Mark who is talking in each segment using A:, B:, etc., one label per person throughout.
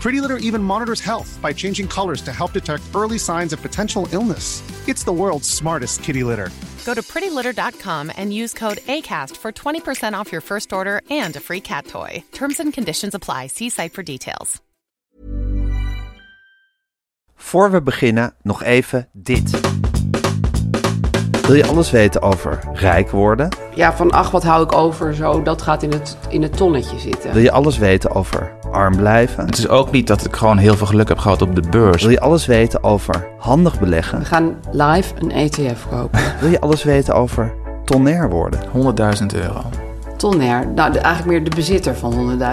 A: Pretty Litter even monitors health by changing colors to help detect early signs of potential illness. It's the world's smartest kitty litter.
B: Go to prettylitter.com and use code ACAST for 20% off your first order and a free cat toy. Terms and conditions apply. See site for details.
C: Voor we beginnen nog even dit. Wil je alles weten over rijk worden?
D: Ja, van ach, wat hou ik over zo, dat gaat in het, in het tonnetje zitten.
C: Wil je alles weten over arm blijven?
E: Het is ook niet dat ik gewoon heel veel geluk heb gehad op de beurs.
C: Wil je alles weten over handig beleggen?
D: We gaan live een ETF kopen.
C: Wil je alles weten over tonair worden?
E: 100.000 euro.
D: Tonner, nou de- eigenlijk meer de bezitter van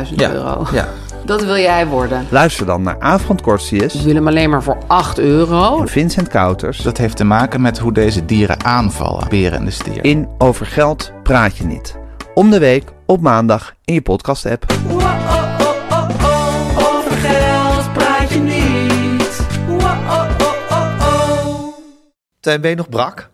D: 100.000
E: Ja,
D: euro.
E: ja.
D: Dat wil jij worden.
C: Luister dan naar Avond
D: Ik
C: Corsius
D: wil hem alleen maar voor 8 euro.
C: en Vincent Kouters
E: Dus Dat heeft te maken met hoe deze dieren aanvallen, beren en de stier.
C: in Over Geld Praat Je Niet. Om de week op maandag in je podcast app. Zijn ben je nog brak?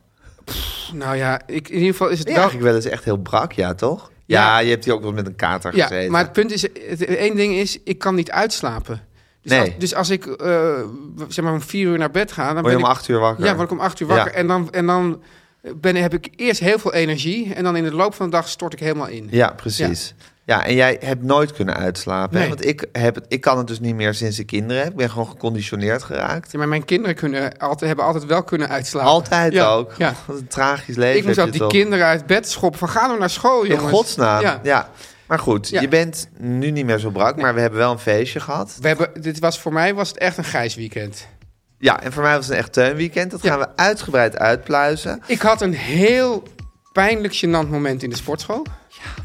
F: Nou ja, ik, in ieder geval is het
C: Ben je
F: wel...
C: eigenlijk wel eens echt heel brak, ja toch? Ja,
F: Ja.
C: je hebt hier ook wel met een kater
F: Ja,
C: gezeten.
F: maar het punt is, het één ding is, ik kan niet uitslapen. Dus,
C: Nee.
F: als, dus als ik eh, zeg maar om vier uur naar bed ga, dan
C: Word je
F: ben
C: om
F: ik,
C: acht uur wakker?
F: ja, word ik om acht uur wakker
C: Ja.
F: en dan, en dan ben, heb ik eerst heel veel energie en dan in de loop van de dag stort ik helemaal in.
C: Ja, precies. Ja. en jij hebt nooit kunnen uitslapen. hè?
F: Nee.
C: Want ik, heb, het- ik kan het dus niet meer sinds ik kinderen heb. Ik ben gewoon geconditioneerd geraakt.
F: Ja, Maar mijn kinderen kunnen altijd, hebben altijd wel kunnen uitslapen.
C: Altijd
F: Ja,
C: ook.
F: ja.
C: Wat een tragisch leven.
F: Ik moest
C: heb
F: altijd
C: je
F: die
C: toch.
F: kinderen uit bed schoppen van ga nou naar school, jongens.
C: In godsnaam. Ja.
F: Ja.
C: Maar goed,
F: Ja.
C: je bent nu niet meer zo brak. Maar we hebben wel een feestje gehad.
F: We hebben, dit was, voor mij was het echt een grijs weekend.
C: Ja, en voor mij was het een echt teunweekend. Dat
F: Ja.
C: gaan we uitgebreid uitpluizen.
F: Ik had een heel pijnlijk gênant moment in de sportschool.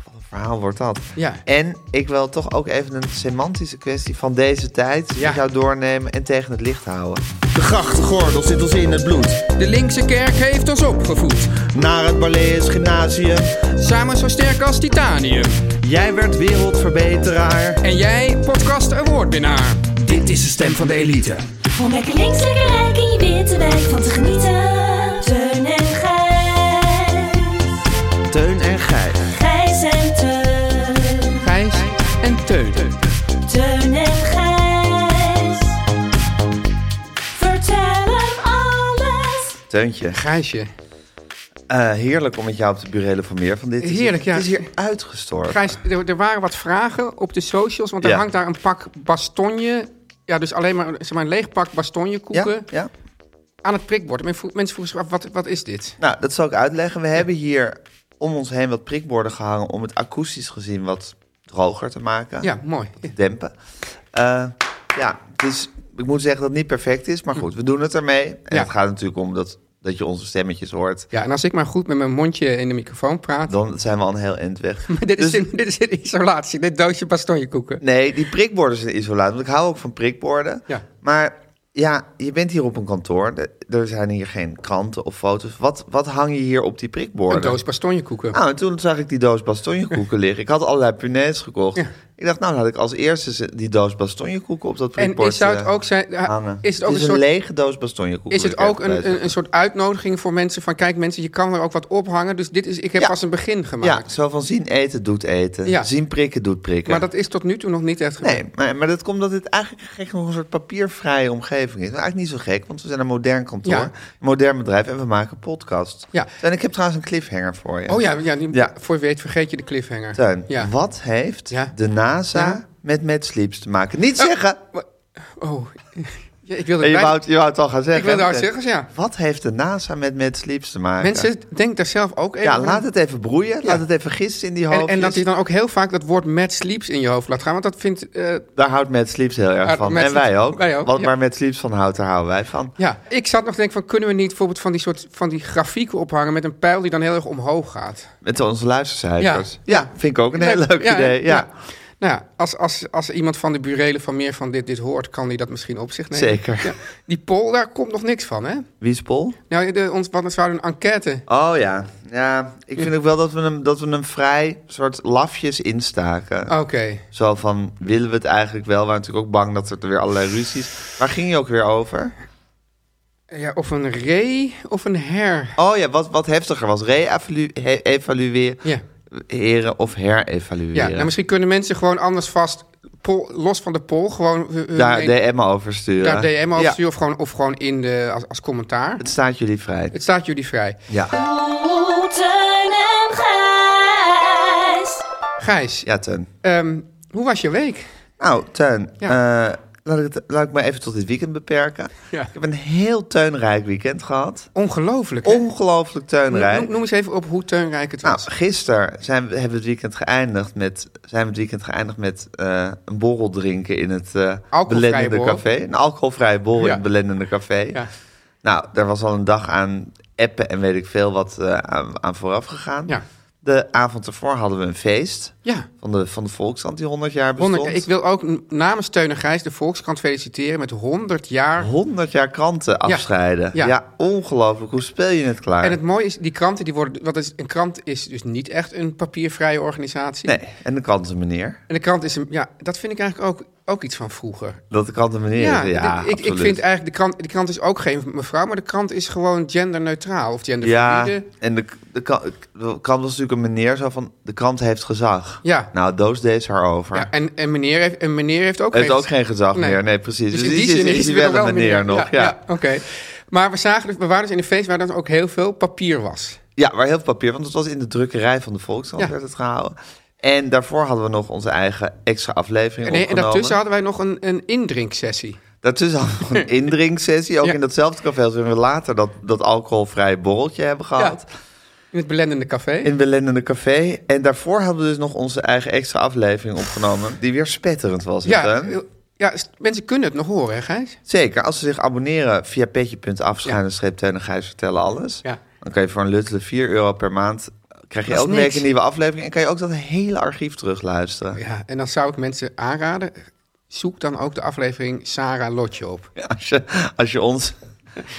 C: Wat een verhaal wordt dat.
F: Ja.
C: En ik wil toch ook even een semantische kwestie van deze tijd...
F: Ja.
C: met jou doornemen en tegen het licht houden.
G: De grachtengordel zit ons in het bloed.
F: De linkse kerk heeft ons opgevoed.
G: Naar het Barlees Gymnasium.
F: Samen zo sterk als titanium.
G: Jij werd wereldverbeteraar.
F: En jij, podcast awardwinnaar.
G: Dit is de stem van de elite.
H: Om lekker links, lekker rijk in je witte wijk van te genieten. Teun en Gijs.
G: Teun en Gijs.
H: Gijs en Teun.
F: Gijs en Teun.
H: Teun en Gijs. Vertel hem alles.
C: Teuntje.
F: Gijsje.
C: Eh, heerlijk om met jou op de burelen van meer van dit te zien.
F: Heerlijk, ja.
C: Het is hier uitgestorven.
F: Gijs, er, er waren wat vragen op de socials, want er
C: Ja.
F: hangt daar een pak bastonje. Ja, dus alleen maar, zeg maar een leeg pak bastonjekoeken
C: ja, ja.
F: aan het prikbord. Men vroeg- Mensen vroegen zich af, wat, wat is dit?
C: Nou, dat zal ik uitleggen. We hebben hier om ons heen wat prikborden gehangen... om het akoestisch gezien wat droger te maken.
F: Ja, mooi. Ja.
C: Dempen. Eh, ja, dus ik moet zeggen dat het niet perfect is. Maar goed, we doen het ermee. En
F: Ja.
C: het gaat natuurlijk om dat, dat je onze stemmetjes hoort.
F: Ja, en als ik maar goed met mijn mondje in de microfoon praat...
C: Dan zijn we al een heel eind weg.
F: Maar dit,
C: Dus-
F: is in, dit is in isolatie, dit doosje bastonjekoeken.
C: Nee, die prikborden zijn isolaat. Want ik hou ook van prikborden.
F: Ja.
C: Maar ja, je bent hier op een kantoor. De- Er zijn hier geen kranten of foto's. Wat, wat hang je hier op die prikborden?
F: Een doos bastonjekoeken.
C: Nou, en toen zag ik die doos bastonjekoeken liggen. Ik had allerlei punaises gekocht.
F: Ja.
C: Ik dacht, nou, laat ik als eerste ze- die doos bastonjekoeken op dat
F: En
C: prikbord
F: is, zou het
C: eh,
F: ook zijn...
C: hangen.
F: Ah, Is het ook een
C: een
F: soort
C: lege doos bastonjekoeken.
F: Is het
C: wil ik
F: ook
C: even
F: een, een,
C: bijzeggen.
F: een soort uitnodiging voor mensen van... kijk mensen, je kan er ook wat ophangen. Dus dit is, ik heb
C: Ja.
F: pas een begin
C: Ja,
F: gemaakt.
C: zo van zien eten doet eten.
F: Ja.
C: Zien prikken doet prikken.
F: Maar dat is tot nu toe nog niet echt gebeurd.
C: Nee, maar, maar dat komt dat dit eigenlijk gek nog een soort papiervrije omgeving is. Maar eigenlijk niet zo gek, want we zijn een modern kantoor,
F: Ja.
C: een modern bedrijf en we maken podcast.
F: Ja.
C: En ik heb trouwens een cliffhanger voor je.
F: Oh ja, ja, die-
C: Ja.
F: voor je weet vergeet je de cliffhanger.
C: Tuin,
F: Ja.
C: wat heeft
F: Ja.
C: de NASA
F: Ja.
C: met Mad Sleeps te maken? Niet zeggen!
F: Oh, Ja, ik wilde
C: En je
F: het bij-
C: wou, het- je wou het al gaan zeggen.
F: Ik wilde
C: hè?
F: hard zeggen, ja.
C: Wat heeft de NASA met Mad Sleeps te maken?
F: Mensen, denk daar zelf ook even
C: ja,
F: aan.
C: laat het even broeien.
F: Ja.
C: Laat het even gissen in die
F: en,
C: hoofdjes.
F: en dat je dan ook heel vaak dat woord mad sleeps in je hoofd laat gaan. Want dat vindt... eh,
C: Daar houdt Mad Sleeps heel erg
F: Ah,
C: van.
F: Mad
C: en wij
F: Sleeps-
C: ook.
F: wij ook,
C: Want
F: ja.
C: waar Mad Sleeps van houdt, daar houden wij van.
F: ja, ik zat nog te denken van... kunnen we niet bijvoorbeeld van die soort van die grafieken ophangen... met een pijl die dan heel erg omhoog gaat?
C: Met onze luistercijfers. Ja,
F: Ja.
C: vind ik ook een heel
F: Leuk.
C: leuk
F: Ja,
C: idee.
F: hè?
C: Ja,
F: Ja. Nou ja, als, als, als iemand van de burelen van meer van dit, dit hoort... kan die dat misschien op zich nemen.
C: Zeker.
F: Ja, die poll, daar komt nog niks van, hè?
C: Wie is Paul?
F: Nou, de, ons, want we zouden een enquête...
C: Oh ja. ja, ik vind ook wel dat we hem, dat we hem vrij soort lafjes instaken.
F: Oké.
C: Zo van, willen we het eigenlijk wel? We waren natuurlijk ook bang dat er weer allerlei ruzies... Waar ging je ook weer over?
F: Ja, of een re of een her.
C: Oh ja, wat, wat heftiger was. Re-evalueren
F: Ja.
C: heren of herevalueren.
F: Ja, nou, misschien kunnen mensen gewoon anders vast, pol- los van de poll, gewoon hun- hun
C: Daar
F: een-
C: DM over sturen.
F: daar DM over
C: Ja,
F: sturen of gewoon, of gewoon in de, als, als commentaar.
C: Het staat jullie vrij.
F: Het staat jullie vrij.
C: Ja,
H: Oeh, Oh, Teun en Gijs.
F: Gijs,
C: ja Teun.
F: ehm, hoe was je week?
C: Nou, Teun,
F: Ja.
C: eh, laat, ik het, laat ik me even tot dit weekend beperken.
F: Ja.
C: Ik heb een heel teunrijk weekend gehad.
F: Ongelooflijk. hè?
C: Ongelooflijk teunrijk.
F: Noem, noem eens even op hoe teunrijk het
C: Nou,
F: was.
C: gisteren zijn we, hebben we het weekend geëindigd met, zijn we het weekend geëindigd met eh, een borrel drinken in het eh,
F: Alcoholvrije
C: belendende
F: borrel.
C: café. Een alcoholvrije borrel in
F: Ja.
C: het belendende café.
F: Ja.
C: Nou, daar was al een dag aan appen en weet ik veel wat eh, aan, aan vooraf gegaan.
F: Ja.
C: De avond ervoor hadden we een feest
F: Ja.
C: van de, van de Volkskrant die 100 jaar bestond.
F: Honderd,
C: 100,
F: ik wil ook n- namens Teun en Gijs de Volkskrant feliciteren met 100 jaar.
C: jaar kranten afscheiden. Ja,
F: Ja.
C: ongelooflijk. Hoe speel je het klaar?
F: En het mooie is, die kranten die worden. Want het is, een krant is dus niet echt een papiervrije organisatie.
C: Nee, en de krantenmeneer.
F: En de krant is een. Ja, dat vind ik eigenlijk ook, ook iets van vroeger.
C: Dat de krantenmeneer
F: Ja,
C: is. Ja,
F: ik- ik, ik
C: absoluut.
F: vind eigenlijk, de krant, de krant is ook geen mevrouw, maar de krant is gewoon genderneutraal of
C: Ja,
F: genderfluide.
C: en de, de, ka- de krant was natuurlijk een meneer zo van... de krant heeft gezag.
F: Ja.
C: Nou, doos deze haar over.
F: Ja. en, en, meneer heeft, en meneer heeft ook
C: heeft
F: geen...
C: ook geen gezag
F: Nee.
C: meer. Nee, precies. Dus,
F: in
C: die, zin is hij
F: het
C: wel een meneer nog. Ja,
F: Ja, Oké. Maar we, zagen dus, we waren dus in een feest waar dan ook heel veel papier was.
C: Ja, maar heel veel papier. Want het was in de drukkerij van de Volkskrant
F: Ja.
C: werd het gehouden. En daarvoor hadden we nog onze eigen extra aflevering
F: En, en
C: opgenomen.
F: daartussen hadden wij nog een, een indrinksessie.
C: Daartussen hadden we nog een indrinksessie. Ook
F: Ja.
C: in datzelfde café als we later dat, dat alcoholvrije borreltje hebben gehad.
F: In het belendende café.
C: In het belendende café. En daarvoor hadden we dus nog onze eigen extra aflevering opgenomen. Die weer spetterend was. het,
F: ja,
C: hè?
F: ja, s- mensen kunnen het nog horen, hè Gijs?
C: Zeker, als ze zich abonneren via petje.af, schuine streep Teun en Gijs vertellen alles.
F: Ja.
C: Dan kan je voor een luttele 4 euro per maand, krijg je
F: Dat is
C: elke week
F: niks.
C: een nieuwe aflevering. En kan je ook dat hele archief terugluisteren.
F: Ja, en dan zou ik mensen aanraden, zoek dan ook de aflevering Sarah Lotje op.
C: Ja, Als, je, als je ons...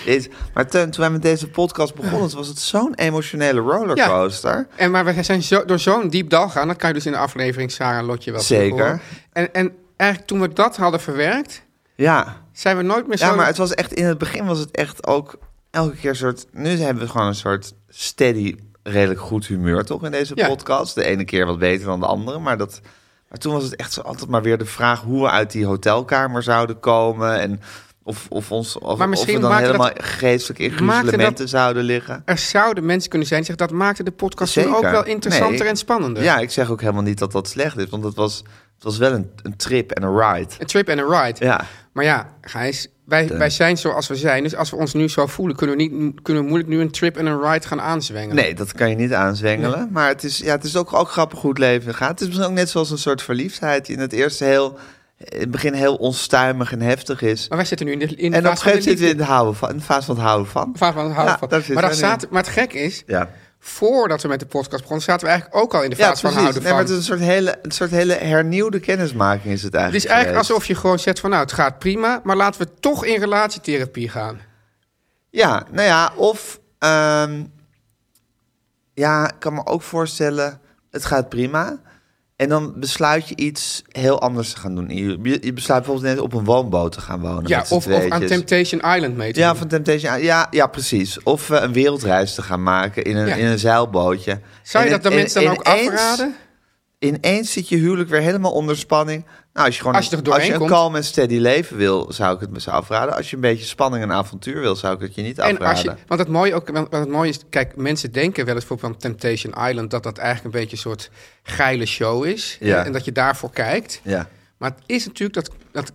C: Is. Maar Teun, toen wij met deze podcast begonnen, toen was het zo'n emotionele rollercoaster.
F: En maar we zijn zo, door zo'n diep dal gaan, dat kan je dus in de aflevering Sarah Lotje wel terug
C: Zeker.
F: horen. En, en eigenlijk toen we dat hadden verwerkt,
C: Ja.
F: zijn we nooit meer zo...
C: ja, maar het was echt, in het begin was het echt ook elke keer een soort... Nu hebben we gewoon een soort steady, redelijk goed humeur toch in deze
F: Ja.
C: podcast. De ene keer wat beter dan de andere, maar dat... Maar toen was het echt zo altijd maar weer de vraag hoe we uit die hotelkamer zouden komen. En of, of, ons, of,
F: Maar
C: of we
F: misschien
C: dan
F: maakte
C: helemaal
F: dat-
C: geestelijk in
F: maakte dat-
C: gruzelementen zouden liggen.
F: Er zouden mensen kunnen zijn die zeggen, dat maakte de podcast toen ook wel interessanter
C: Nee.
F: en spannender.
C: Ja, ik zeg ook helemaal niet dat dat slecht is. Want het was, het was wel een, een trip en een ride.
F: Een trip en een ride.
C: Ja.
F: Maar ja, Gijs, wij, wij zijn zoals we zijn. Dus als we ons nu zo voelen, kunnen we, niet, kunnen we moeilijk nu een trip en een ride gaan aanzwengelen.
C: Nee, dat kan je niet aanzwengelen. Maar het is, ja, het is ook, ook grappig hoe het leven gaat. Het is misschien ook net zoals een soort verliefdheid die in het eerste heel, in het begin heel onstuimig en heftig is.
F: Maar wij zitten nu in de, in de
C: en op een
F: fase
C: gegeven
F: van
C: moment
F: de
C: zitten we in
F: liefde.
C: de, houden van, in de fase van het houden van.
F: Fase van het houden
C: Ja,
F: van.
C: daar zitten
F: Maar, dat
C: we nu.
F: zaten, maar het gek is,
C: Ja,
F: voordat we met de podcast begonnen, zaten we eigenlijk ook al in de
C: ja
F: fase
C: precies.
F: van houden
C: Nee,
F: van.
C: maar het is een soort, hele, een soort hele hernieuwde kennismaking is het
F: Het
C: eigenlijk
F: is eigenlijk
C: geweest.
F: alsof je gewoon zegt van nou, het gaat prima, maar laten we toch in relatietherapie gaan.
C: Ja, nou ja, of... ehm, ja, ik kan me ook voorstellen, het gaat prima. En dan besluit je iets heel anders te gaan doen. Je, je besluit bijvoorbeeld net op een woonboot te gaan wonen.
F: Ja,
C: met z'n
F: of, of aan
C: tweetjes.
F: Temptation Island mee te
C: Ja,
F: doen.
C: van Temptation Island. Ja, ja, precies. Of eh, een wereldreis te gaan maken in een,
F: Ja.
C: in een zeilbootje.
F: Zou je
C: En
F: dat dan
C: in-
F: mensen dan ook
C: ineens-
F: afraden?
C: Ineens zit je huwelijk weer helemaal onder spanning. Nou, als je gewoon
F: Als je er doorheen
C: een
F: komt.
C: kalm en steady leven wil, zou ik het me zo afraden. Als je een beetje spanning en avontuur wil, zou ik het je niet
F: En
C: afraden.
F: als je, want het mooie, ook, want het mooie is, kijk, mensen denken wel eens voor van Temptation Island dat dat eigenlijk een beetje een soort geile show is.
C: Ja.
F: En dat je daarvoor kijkt.
C: Ja.
F: Maar het is natuurlijk dat, dat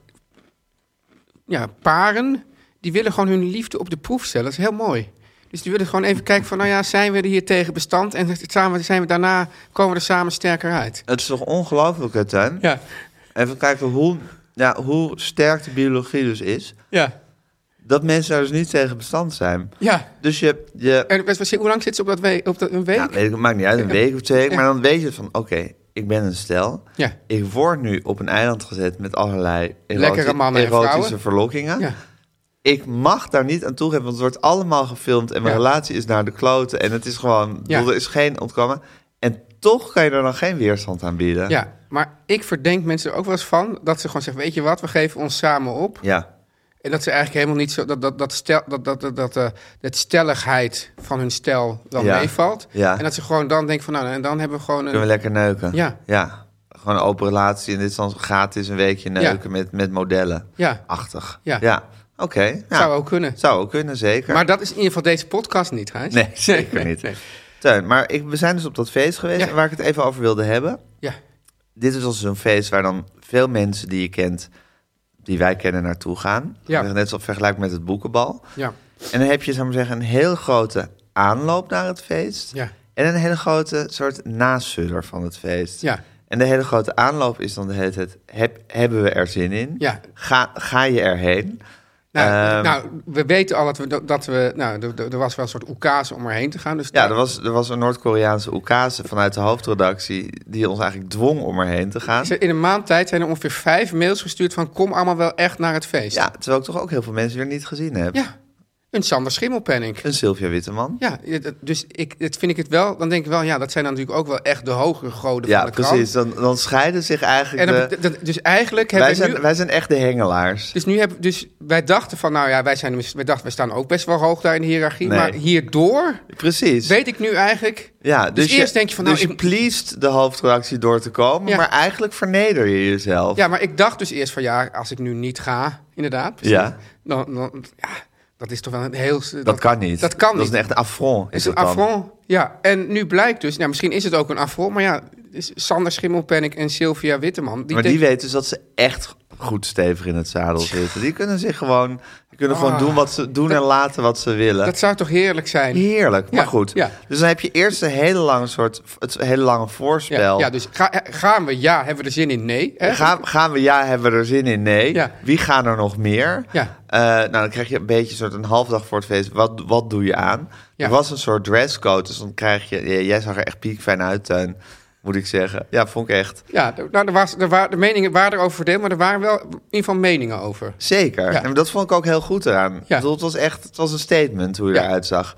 F: ja, paren, die willen gewoon hun liefde op de proef stellen. Dat is heel mooi. Dus die willen gewoon even kijken van, nou ja, zijn we er hier tegen bestand? En samen, zijn we daarna komen we er samen sterker uit.
C: Het is toch ongelooflijk, hè, Teun?
F: Ja,
C: Even kijken hoe, ja, hoe sterk de biologie dus is.
F: ja,
C: Dat mensen daar dus niet tegen bestand zijn.
F: ja.
C: Dus je, je
F: En wat- wat- hoe lang zit ze op dat, we- op dat een week?
C: ja, weet ik, het maakt niet uit, een week of twee, maar dan weet je van, oké, ik ben een stel.
F: Ja.
C: Ik word nu op een eiland gezet met allerlei erotische,
F: Lekkere mannen en
C: erotische
F: vrouwen.
C: verlokkingen.
F: Ja.
C: Ik mag daar niet aan toegeven, want het wordt allemaal gefilmd en mijn
F: Ja.
C: relatie is naar de kloten en het is gewoon, ik
F: Ja.
C: bedoel, er is geen ontkomen. En toch kan je er dan geen weerstand aan bieden.
F: ja, maar ik verdenk mensen er ook wel eens van dat ze gewoon zeggen, weet je wat, we geven ons samen op.
C: Ja.
F: En dat ze eigenlijk helemaal niet zo dat dat dat stel dat dat dat dat, eh, dat stelligheid van hun stel dan
C: Ja.
F: meevalt.
C: Ja.
F: En dat ze gewoon dan denken van nou en dan hebben we gewoon
C: Kunnen
F: een
C: we lekker neuken?
F: Ja.
C: ja. Gewoon een open relatie en dit is dan gratis een weekje neuken met, met modellen.
F: ja
C: Achtig.
F: Ja.
C: Oké. Ah, ja.
F: zou ook kunnen.
C: Zou ook kunnen, zeker.
F: Maar dat is in ieder geval deze podcast niet, Gijs.
C: Nee, zeker
F: nee,
C: niet.
F: nee.
C: Teun, maar ik, we zijn dus op dat feest geweest
F: Ja.
C: en waar ik het even over wilde hebben.
F: Ja,
C: Dit is dus zo'n feest waar dan veel mensen die je kent, die wij kennen, naartoe gaan.
F: Ja.
C: Dat is Net zo vergelijk met het boekenbal.
F: ja,
C: En dan heb je, zou ik maar zeggen, een heel grote aanloop naar het feest.
F: Ja.
C: En een hele grote soort nasudder van het feest.
F: Ja.
C: En de hele grote aanloop is dan de hele tijd, heb, hebben we er zin in?
F: ja.
C: Ga, ga je erheen?
F: Nou,
C: Ehm,
F: nou, we weten al dat we dat we nou er- er er was wel een soort oekase om erheen te gaan. Dus
C: Ja,
F: daar-
C: er was, er was een Noord-Koreaanse oekase vanuit de hoofdredactie... die ons eigenlijk dwong om erheen te gaan.
F: Is er- In een maand tijd zijn er ongeveer vijf mails gestuurd van kom allemaal wel echt naar het feest.
C: Ja, terwijl ik toch ook heel veel mensen weer niet gezien heb.
F: ja. Een Sander Schimmelpenning.
C: Een Sylvia Witteman.
F: Ja, je- dat- dus ik, dat vind ik het wel. Dan denk ik wel, ja, dat zijn dan natuurlijk ook wel echt de hogere goden
C: Ja,
F: van de krant.
C: precies. Dan, dan scheiden zich
F: En
C: eigenlijk
F: dat,
C: de...
F: dat- dat- dus eigenlijk hebben
C: Wij
F: we
C: zijn,
F: nu...
C: wij zijn echt de hengelaars.
F: Dus, nu hebben, dus wij dachten van, nou ja, wij, zijn, wij dachten, wij staan ook best wel hoog daar in de hiërarchie.
C: Nee.
F: Maar hierdoor
C: Precies.
F: weet ik nu eigenlijk...
C: ja, dus,
F: eerst denk je van, nou,
C: dus je
F: ik-
C: pleased de hoofdredactie door te komen...
F: Ja.
C: maar eigenlijk verneder je jezelf.
F: Ja, maar ik dacht dus eerst van, ja, als ik nu niet ga, inderdaad.
C: Ja.
F: Dan, dan, ja, dat is toch wel een heel... Dat,
C: dat kan niet.
F: Dat kan
C: Dat
F: niet.
C: is een echt affront.
F: Het is
C: dat
F: een
C: dan.
F: affront. Ja, en nu blijkt dus, nou, misschien is het ook een affront, maar ja, is Sander Schimmelpenning en Sylvia Witteman.
C: maar
F: denk-
C: die weten dus dat ze echt goed stevig in het zadel zitten. Die kunnen zich gewoon, die kunnen gewoon doen, wat ze, doen en laten wat ze willen.
F: Ah. Dat zou toch heerlijk zijn?
C: Heerlijk, maar
F: Ja,
C: goed.
F: ja.
C: Dus dan heb je eerst een hele lange soort, het hele lange
F: Ja,
C: voorspel.
F: ja, dus ga- eh, gaan we ja, hebben we er zin in? Nee. Hè?
C: gaan, gaan we ja, hebben we er zin in? Nee.
F: Ja.
C: Wie gaan er nog meer?
F: Ja.
C: Eh, nou, dan krijg je een beetje een soort een half dag voor het feest. Wat, wat doe je aan?
F: Ja.
C: Er was een soort dresscode, dus dan krijg je... ja, Jij zag er echt piekfijn uit, Tuin, moet ik zeggen. Ja, vond ik echt.
F: Ja, d- nou, er was, er waren, de meningen waren erover verdeeld, maar er waren wel in ieder geval meningen over.
C: Zeker.
F: Ja.
C: En dat vond ik ook heel goed eraan. Ik bedoel, het was echt het was een statement hoe je
F: Ja.
C: eruit zag.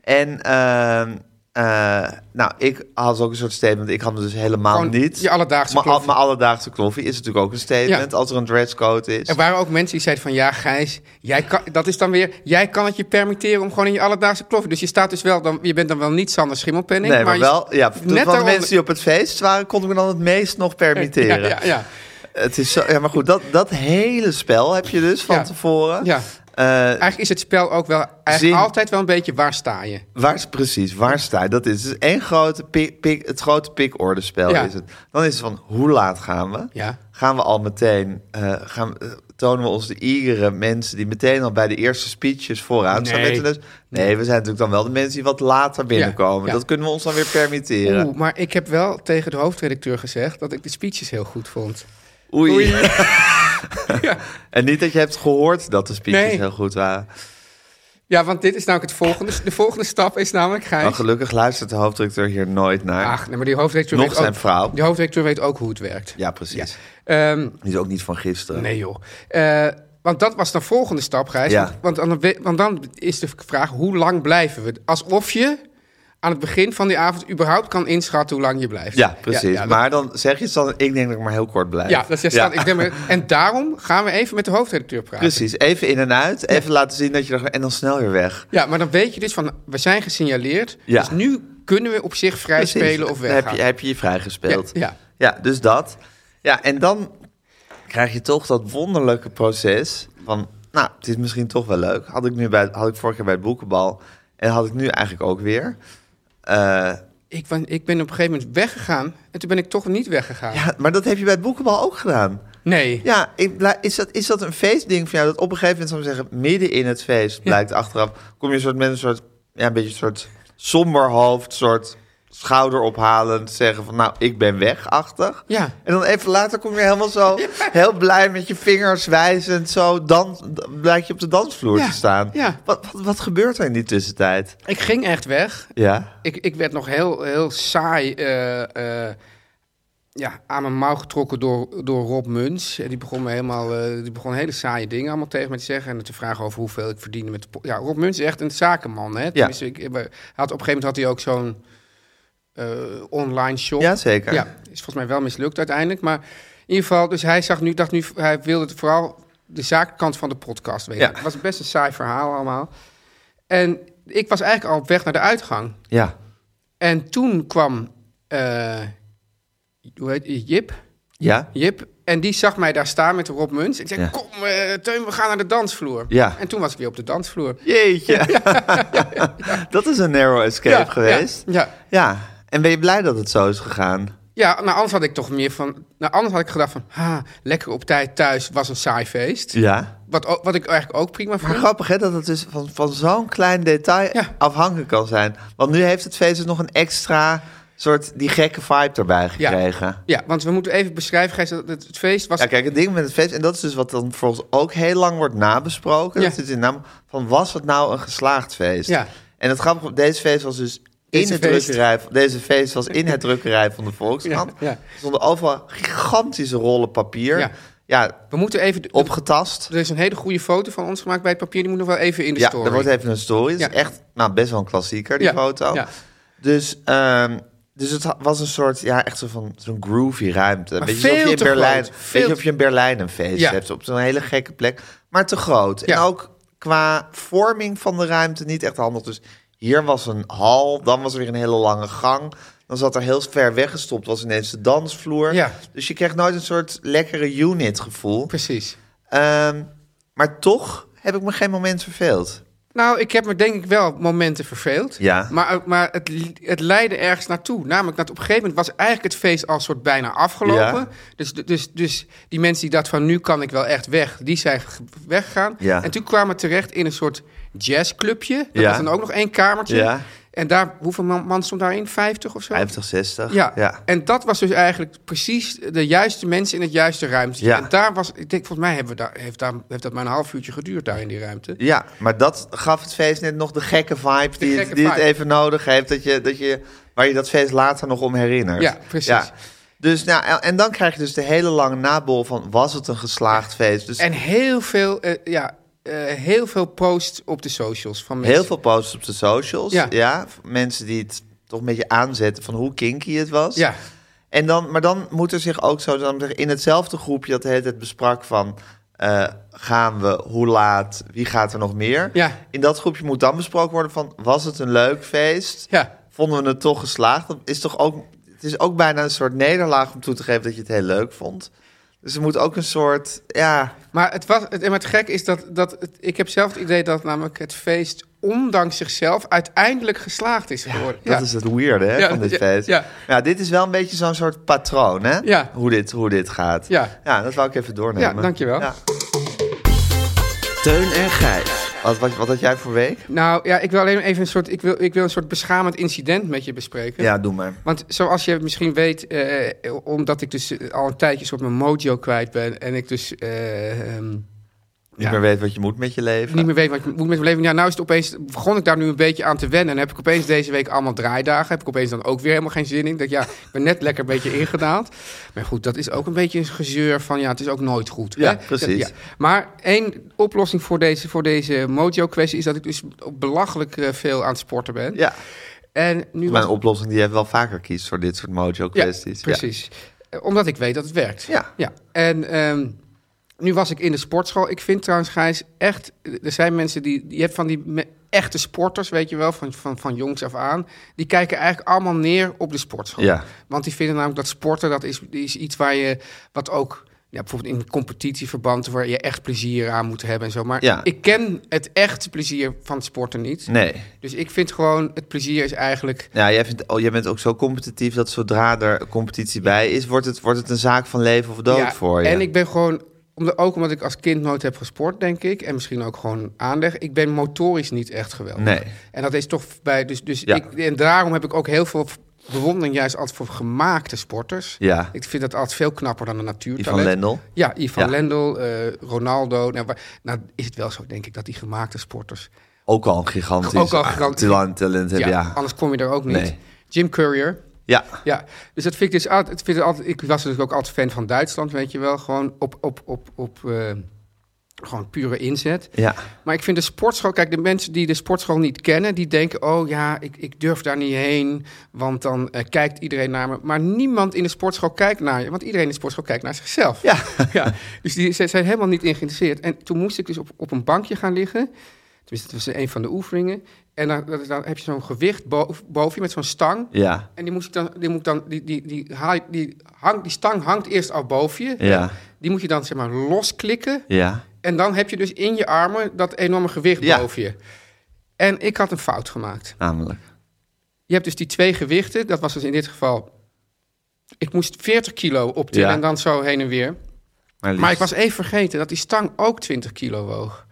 C: En ehm, eh, nou, ik had ook een soort statement. Ik had het dus helemaal
F: Gewoon
C: niet.
F: je alledaagse
C: Maar al-
F: kloffie.
C: Mijn alledaagse kloffie is natuurlijk ook een statement
F: Ja.
C: als er een dresscode is.
F: Er waren ook mensen die zeiden van ja, Gijs, jij kan, dat is dan weer, jij kan het je permitteren om gewoon in je alledaagse kloffie. Dus je staat dus wel, dan, je bent dan wel niet Sander Schimmelpenning.
C: Nee, maar
F: je-
C: wel. Ja, van de
F: daaronder-
C: mensen die op het feest waren, kon ik me dan het meest nog permitteren.
F: Ja, ja, ja.
C: Het is zo, ja, maar goed, dat, dat hele spel heb je dus van
F: Ja.
C: tevoren.
F: Ja.
C: Eh,
F: Eigenlijk is het spel ook wel eigenlijk
C: Zin.
F: altijd wel een beetje waar sta je.
C: Waar, is- precies, waar sta je? Dat is dus één grote pik, pik, het grote pikordespel
F: Ja.
C: is het. Dan is het van, hoe laat gaan we?
F: Ja.
C: Gaan we al meteen, eh, gaan, eh, tonen we ons de iegere mensen... die meteen al bij de eerste speeches vooraan staan?
F: Nee.
C: Met de les? dus- nee, we zijn natuurlijk dan wel de mensen die wat later binnenkomen.
F: ja.
C: Dat kunnen we ons dan weer permitteren.
F: Oeh, maar ik heb wel tegen de hoofdredacteur gezegd dat ik de speeches heel goed vond.
C: Oei.
F: Ja.
C: en niet dat je hebt gehoord dat de speeches
F: Nee.
C: heel goed waren.
F: Ja, want dit is namelijk het volgende. De volgende stap is namelijk
C: Maar
F: Gijs.
C: gelukkig luistert de hoofddirecteur hier nooit naar.
F: Ach, nee, maar die hoofdredacteur,
C: Nog
F: weet
C: zijn
F: ook,
C: vrouw.
F: die hoofdredacteur weet ook hoe het werkt.
C: Ja, precies.
F: Ehm,
C: Die is ook niet van gisteren.
F: nee joh. Eh, want dat was de volgende stap, Gijs.
C: Ja.
F: Want- Want, dan we- want dan is de vraag, hoe lang blijven we? Alsof je aan het begin van die avond überhaupt kan inschatten hoe lang je blijft.
C: Ja, precies.
F: dat-
C: maar dan zeg je het dan, ik denk dat ik maar heel kort blijf.
F: Ja, dat zegt staat. Ik denk maar, en daarom gaan we even met de hoofdredacteur praten.
C: Precies, even in en uit, even laten zien dat je er... En dan snel weer weg.
F: Ja, maar dan weet je dus van, we zijn gesignaleerd.
C: Ja.
F: Dus nu kunnen we op zich vrij
C: Precies.
F: spelen of
C: Dan
F: weggaan.
C: Heb je, heb je je vrijgespeeld.
F: Ja,
C: ja, dus dat. Ja, en dan krijg je toch dat wonderlijke proces van... Nou, het is misschien toch wel leuk. Had ik, nu bij, had ik vorige keer bij het boekenbal en had ik nu eigenlijk ook weer. Eh,
F: ik, ben, ik ben op een gegeven moment weggegaan en toen ben ik toch niet weggegaan.
C: ja, maar dat heb je bij het boekenbal ook gedaan.
F: Nee.
C: Ja, ik blij- is, dat, is dat een feestding van jou? Dat op een gegeven moment, zou ik zeggen, midden in het feest blijkt achteraf. Kom je soort met een soort, ja, een beetje een soort somber hoofd, soort schouder ophalend zeggen van nou ik ben wegachtig.
F: Ja.
C: En dan even later kom je helemaal zo heel blij met je vingers wijzend zo dan blijkt je op de dansvloer
F: Ja,
C: te staan.
F: ja.
C: Wat, wat, wat gebeurt er in die tussentijd?
F: Ik ging echt weg.
C: Ja.
F: Ik, ik werd nog heel, heel saai eh, eh, ja, aan mijn mouw getrokken door, door Rob Muns. En Die begon, me helemaal, eh, die begon hele saaie dingen allemaal tegen me te zeggen. En te vragen over hoeveel ik verdiende met de... po- Ja, Rob Muns is echt een zakenman, hè? Tenminste, Ik, ik- hij had, op een gegeven moment had hij ook zo'n eh, online shop.
C: Ja, zeker.
F: Ja, is volgens mij wel mislukt uiteindelijk. Maar in ieder geval, dus hij zag nu, dacht nu, hij wilde het vooral de zakenkant van de podcast weten.
C: Ja.
F: Het was best een saai verhaal allemaal. En ik was eigenlijk al op weg naar de uitgang.
C: Ja.
F: En toen kwam, eh, hoe heet Jip?
C: Ja.
F: Jip. En die zag mij daar staan met Rob Muns. Ik zei,
C: Ja.
F: kom eh, Teun, we gaan naar de dansvloer.
C: Ja.
F: En toen was ik weer op de dansvloer.
C: Jeetje. Dat is een narrow escape
F: Ja,
C: geweest.
F: ja, ja.
C: ja. En ben je blij dat het zo is gegaan?
F: Ja, nou anders had ik toch meer van... Nou anders had ik gedacht van, ha, lekker op tijd thuis was een saai feest.
C: Ja.
F: Wat, ook- wat ik eigenlijk ook prima
C: Maar
F: vond.
C: grappig hè, dat het dus van, van zo'n klein detail
F: Ja.
C: afhankelijk kan zijn. Want nu heeft het feest dus nog een extra soort die gekke vibe erbij gekregen. Ja.
F: Ja, want we moeten even beschrijven, Gijs, dat het, het feest was...
C: kijk, het ding met het feest, en dat is dus wat dan volgens ook heel lang wordt nabesproken.
F: Ja.
C: Dat is in naam van was het nou een geslaagd feest?
F: Ja.
C: En het grappige, op deze feest was dus in
F: Deze
C: het
F: feest.
C: drukkerij, deze feest was in het drukkerij van de Volkskrant.
F: Ja, ja.
C: Er stonden overal gigantische rollen papier.
F: Ja.
C: Ja,
F: We moeten even... de-
C: opgetast.
F: Er is een hele goede foto van ons gemaakt bij het papier. Die moet nog wel even in de
C: ja,
F: story.
C: er wordt even een story. Het
F: Ja.
C: is echt nou, best wel een klassieker, die
F: Ja,
C: foto.
F: ja.
C: Dus, ehm, dus het ha- was een soort, ja, echt zo van zo'n groovy ruimte.
F: Maar
C: Weet je, alsof
F: veel
C: je in
F: te
C: Berlijn,
F: groot. Veel
C: weet je,
F: te-
C: of je in Berlijn een feest
F: Ja.
C: hebt op zo'n hele gekke plek, maar te groot.
F: Ja.
C: En ook qua vorming van de ruimte niet echt handig. Dus hier was een hal, dan was er weer een hele lange gang. Dan zat er heel ver weggestopt, was ineens de dansvloer.
F: Ja.
C: Dus je kreeg nooit een soort lekkere unit gevoel.
F: Precies.
C: Ehm, maar toch heb ik me geen moment verveeld.
F: Nou, ik heb me denk ik wel momenten verveeld.
C: Ja.
F: Maar, maar het, li- het leidde ergens naartoe. Namelijk dat op een gegeven moment was eigenlijk het feest al soort bijna afgelopen.
C: Ja.
F: Dus, dus, dus die mensen die dachten van nu kan ik wel echt weg, die zijn g- weggegaan.
C: Ja.
F: En toen kwamen we terecht in een soort jazzclubje. Dat
C: Ja.
F: was dan ook nog één kamertje.
C: Ja.
F: En daar, hoeveel man, man stond daarin? 50 of zo?
C: 50, 60.
F: Ja.
C: ja.
F: en dat was dus eigenlijk precies de juiste mensen in het juiste ruimte.
C: Ja.
F: En daar was, ik denk, volgens mij hebben we daar, heeft, daar, heeft dat maar een half uurtje geduurd daar in die ruimte.
C: Ja, maar dat gaf het feest net nog de gekke vibe die,
F: gekke
C: het, die
F: vibe.
C: het even nodig heeft. Dat je, dat je, waar je dat feest later nog om herinnert.
F: Ja, precies.
C: Dus, nou, en- en dan krijg je dus de hele lange nabol van was het een geslaagd feest? Dus
F: En heel veel, eh, ja, eh, heel veel posts op de socials van mensen.
C: heel veel posts op de socials.
F: Ja.
C: Ja. mensen die het toch een beetje aanzetten van hoe kinky het was.
F: Ja,
C: En dan, maar dan moet er zich ook zo dan moet er in hetzelfde groepje dat de hele tijd besprak van... eh, gaan we, hoe laat, wie gaat er nog meer?
F: Ja.
C: In dat groepje moet dan besproken worden van... was het een leuk feest?
F: Ja.
C: Vonden we het toch geslaagd? Dat is toch ook, het is ook bijna een soort nederlaag om toe te geven dat je het heel leuk vond. Dus er moet ook een soort... Ja,
F: maar het, was, het, maar het gek is dat, dat het- ik heb zelf het idee dat namelijk het feest ondanks zichzelf uiteindelijk geslaagd is geworden.
C: dat is het weirde hè,
F: Ja,
C: van dit
F: ja,
C: feest.
F: ja.
C: dit is wel een beetje zo'n soort patroon, hè?
F: Ja.
C: Hoe, dit, hoe dit gaat.
F: Ja.
C: ja, dat wou ik even doornemen.
F: Ja, dankjewel.
G: Teun en Gijs.
C: Wat, wat, wat had jij voor week?
F: Nou ja, ik wil alleen even een soort, ik wil, ik wil een soort beschamend incident met je bespreken.
C: Ja, doe maar.
F: Want zoals je misschien weet, eh, omdat ik dus eh, al een tijdje soort mijn mojo kwijt ben en ik dus eh, ehm,
C: Niet
F: Ja.
C: meer weet wat je moet met je leven.
F: niet meer weet wat ik moet met mijn leven. Ja, nou is het opeens, begon ik daar nu een beetje aan te wennen. En heb ik opeens deze week allemaal draaidagen. Heb ik opeens dan ook weer helemaal geen zin in. Dat ja, ik ben net lekker een beetje ingedaald. Maar goed, dat is ook een beetje een gezeur van ja, het is ook nooit goed.
C: Ja,
F: hè?
C: precies.
F: Dat- Maar één oplossing voor deze, voor deze mojo-kwestie is dat ik dus belachelijk eh, veel aan het sporten ben.
C: Ja,
F: En
C: mijn
F: nu was-
C: oplossing die je wel vaker kiest voor dit soort
F: ja,
C: mojo-kwesties.
F: precies. Eh, Omdat ik weet dat het werkt.
C: Ja.
F: ja. En ehm, nu was ik in de sportschool. Ik vind trouwens, Gijs, echt... eh, Er zijn mensen die... Je hebt van die me- echte sporters, weet je wel, van, van, van jongs af aan. Die kijken eigenlijk allemaal neer op de sportschool.
C: Ja.
F: Want die vinden namelijk dat sporten, dat is, is iets waar je... Wat ook ja, bijvoorbeeld in competitieverband waar je echt plezier aan moet hebben en zo. Maar
C: Ja.
F: ik ken het echte plezier van sporten niet.
C: Nee.
F: Dus ik vind gewoon, het plezier is eigenlijk...
C: Ja, jij, vindt, oh, jij bent ook zo competitief dat zodra er competitie bij is, wordt het, wordt het een zaak van leven of dood
F: Ja,
C: voor je.
F: En ik ben gewoon, omdat, ook omdat ik als kind nooit heb gesport, denk ik, en misschien ook gewoon aanleg, ik ben motorisch niet echt geweldig.
C: Nee.
F: En dat is toch bij, dus, dus
C: Ja.
F: ik, en daarom heb ik ook heel veel bewondering juist altijd voor gemaakte sporters.
C: Ja.
F: Ik vind dat altijd veel knapper dan een natuurtalent.
C: Ivan Lendl.
F: Ja, Ivan
C: Ja.
F: Lendl, eh, Ronaldo. Nou, waar- nou, is het wel zo, denk ik, dat die gemaakte sporters...
C: Ook al een gigantisch
F: Ook al gigantisch.
C: talent, talent hebben, ja.
F: Anders kom je er ook niet.
C: Nee.
F: Jim Courier,
C: Ja,
F: ja, dus dat vind ik dus altijd. Ik, vind het altijd, ik was natuurlijk ook altijd fan van Duitsland, weet je wel. Gewoon op, op, op, op eh, gewoon pure inzet.
C: ja.
F: Maar ik vind de sportschool, kijk, de mensen die de sportschool niet kennen, die denken: oh ja, ik, ik durf daar niet heen, want dan eh, kijkt iedereen naar me. Maar niemand in de sportschool kijkt naar je, want iedereen in de sportschool kijkt naar zichzelf.
C: Ja.
F: ja dus die ze zijn helemaal niet in geïnteresseerd. En toen moest ik dus op, op een bankje gaan liggen. Tenminste, dat was een van de oefeningen. En dan, dan- dan heb je zo'n gewicht boven, boven je met zo'n stang.
C: ja.
F: En die moest ik dan, die moet ik dan, die, die, die, haal je- die, hang, die stang hangt eerst al boven je.
C: Ja.
F: Die moet je dan zeg maar losklikken.
C: Ja.
F: En dan heb je dus in je armen dat enorme gewicht
C: Ja.
F: boven je. En ik had een fout gemaakt.
C: Namelijk.
F: Je hebt dus die twee gewichten. Dat was dus in dit geval. Ik moest 40 kilo optillen
C: Ja.
F: en dan zo heen en weer.
C: Maar, liefst.
F: Maar ik was even vergeten dat die stang ook 20 kilo woog.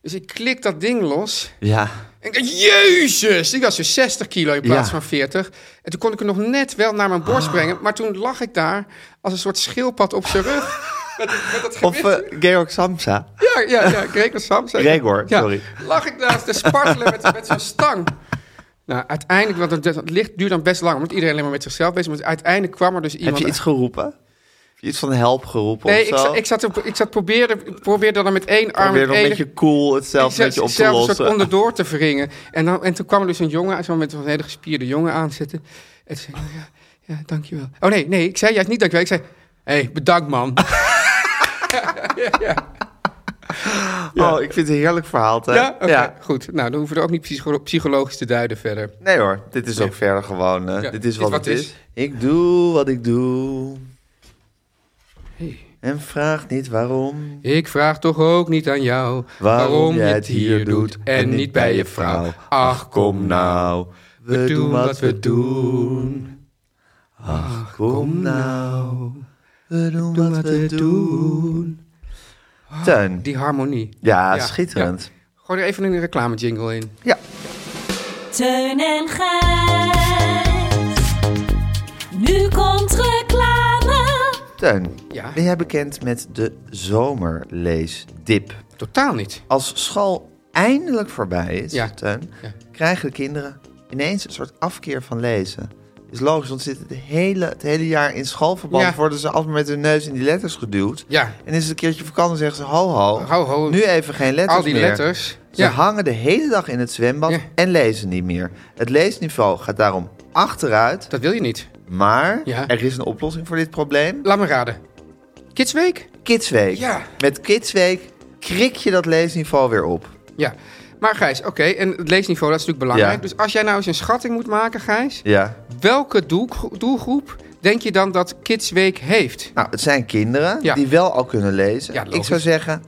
F: Dus ik klik dat ding los.
C: Ja.
F: En ik dacht, jezus, die was dus 60 kilo in plaats
C: Ja. Ah.
F: van 40. En toen kon ik hem nog net wel naar mijn borst brengen. Maar toen lag ik daar als een soort schildpad op zijn rug. met, met dat
C: Of
F: gewicht.
C: eh, Georg Samsa.
F: Ja, ja, ja, Gregor Sam. zei-
C: Gregor, sorry.
F: Lag ik daar te spartelen met, met zo'n stang. Nou, uiteindelijk, want het, het licht duurt dan best lang... omdat iedereen alleen maar met zichzelf bezig is. Maar uiteindelijk kwam er dus iemand...
C: Heb je iets geroepen? Heb je iets van help geroepen
F: nee,
C: of
F: ik,
C: zo?
F: zat- ik, zat, op- ik zat probeerde, ik probeerde dan met één arm...
C: Probeer
F: het
C: nog een
F: ene-
C: beetje cool hetzelfde
F: zelf
C: met je op te
F: een soort
C: lossen.
F: onderdoor te wringen. En, dan, en toen kwam er dus een jongen, zo met zo'n hele gespierde jongen aanzetten. En toen zei ik, oh ja, ja, dankjewel. Oh nee, nee, ik zei juist niet dankjewel. Ik zei, hé, hey, bedankt man.
C: Oh, ik vind het een heerlijk verhaal, hè?
F: ja, oké, goed. Nou, dan hoeven we er ook niet psycho- psychologisch te duiden verder.
C: Nee hoor, dit is ook verder gewoon. eh,
F: Ja,
C: dit is wat,
F: wat
C: het
F: is.
C: is. Ik doe wat ik doe.
F: Hey.
C: En vraag niet waarom.
F: Ik vraag toch ook niet aan jou
C: Waarom, jij het hier doet en niet bij je vrouw.
F: Ach,
C: Kom nou, we, doen wat we doen. Ach, kom nou, we doen wat we doen. Teun,
F: Die harmonie.
C: ja,
F: Ja,
C: schitterend.
F: Gooi er even een reclame jingle in.
C: Ja.
H: Teun en Gijs. Nu komt reclame.
C: Teun,
F: Ja.
C: ben jij bekend met de zomerleesdip?
F: Totaal niet.
C: Als school eindelijk voorbij is,
F: Ja.
C: Teun,
F: Ja.
C: krijgen de kinderen ineens een soort afkeer van lezen. Is logisch, want ze zitten het hele, het hele jaar in schoolverband.
F: Ja.
C: Worden ze altijd met hun neus in die letters geduwd.
F: Ja.
C: En is het een keertje vakantie, zeggen ze: ho, ho.
F: Ho, ho.
C: Nu even geen letters.
F: Al die
C: meer.
F: letters.
C: Ze
F: Ja.
C: hangen de hele dag in het zwembad
F: Ja.
C: en lezen niet meer. Het leesniveau gaat daarom achteruit.
F: Dat wil je niet.
C: Maar
F: Ja.
C: er is een oplossing voor dit probleem.
F: Laat me raden. Kidsweek?
C: Kidsweek.
F: Ja.
C: Met Kidsweek krik je dat leesniveau weer op.
F: Ja. Maar Gijs, oké, en het leesniveau, dat is natuurlijk belangrijk.
C: Ja.
F: Dus als jij nou eens een schatting moet maken, Gijs,
C: Ja.
F: welke doelgro- doelgroep denk je dan dat Kidsweek heeft?
C: Nou, het zijn kinderen
F: Ja.
C: die wel al kunnen lezen.
F: Ja,
C: ik
F: logisch.
C: zou zeggen,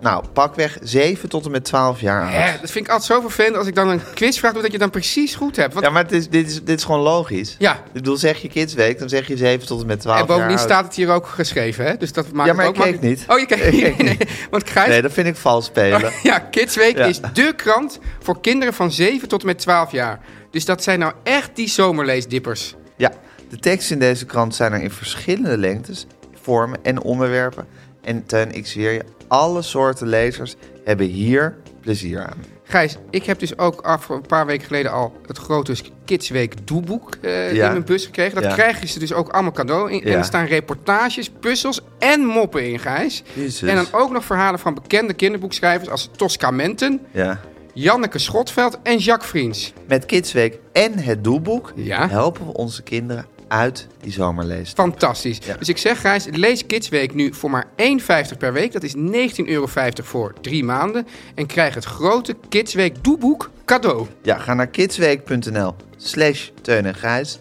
C: nou, pakweg 7 tot en met 12 jaar oud.
F: Hè, dat vind ik altijd zo vervelend als ik dan een quizvraag doe dat je dan precies goed hebt. Want
C: Ja, maar het is, dit, is, dit is gewoon logisch.
F: Ja.
C: Ik bedoel, zeg je Kidsweek, dan zeg je 7 tot en met 12
F: en bovendien
C: jaar oud.
F: staat het hier ook geschreven, hè? Dus dat maakt
C: Ja, maar
F: het ook
C: ik keek
F: makkelijk.
C: niet.
F: Oh, je kijkt
C: Ik
F: niet.
C: keek
F: Nee, nee. Want Gijs...
C: Nee, dat vind ik vals spelen.
F: ja, Kidsweek
C: Ja.
F: is dé krant voor kinderen van 7 tot en met 12 jaar. Dus dat zijn nou echt die zomerleesdippers.
C: Ja, de teksten in deze krant zijn er in verschillende lengtes, vormen en onderwerpen. En ten, ik zweer je, alle soorten lezers hebben hier plezier aan.
F: Gijs, ik heb dus ook af, een paar weken geleden al het grote Kidsweek doeboek eh,
C: Ja.
F: in mijn bus gekregen. Dat
C: Ja.
F: krijgen ze dus ook allemaal cadeau. In.
C: Ja.
F: En er staan reportages, puzzels en moppen in, Gijs.
C: Jezus.
F: En dan ook nog verhalen van bekende kinderboekschrijvers als Tosca Menten,
C: Ja.
F: Janneke Schotveld en Jacques Vriends.
C: Met Kidsweek en het doelboek
F: Ja.
C: helpen we onze kinderen uit die zomerlees.
F: Fantastisch.
C: Ja.
F: Dus ik zeg, Gijs, lees Kidsweek nu voor maar 1,50 per week. Dat is 19,50 euro voor drie maanden. En krijg het grote Kidsweek doeboek cadeau.
C: Ja, ga naar kidsweek.nl slash Teun en Gijs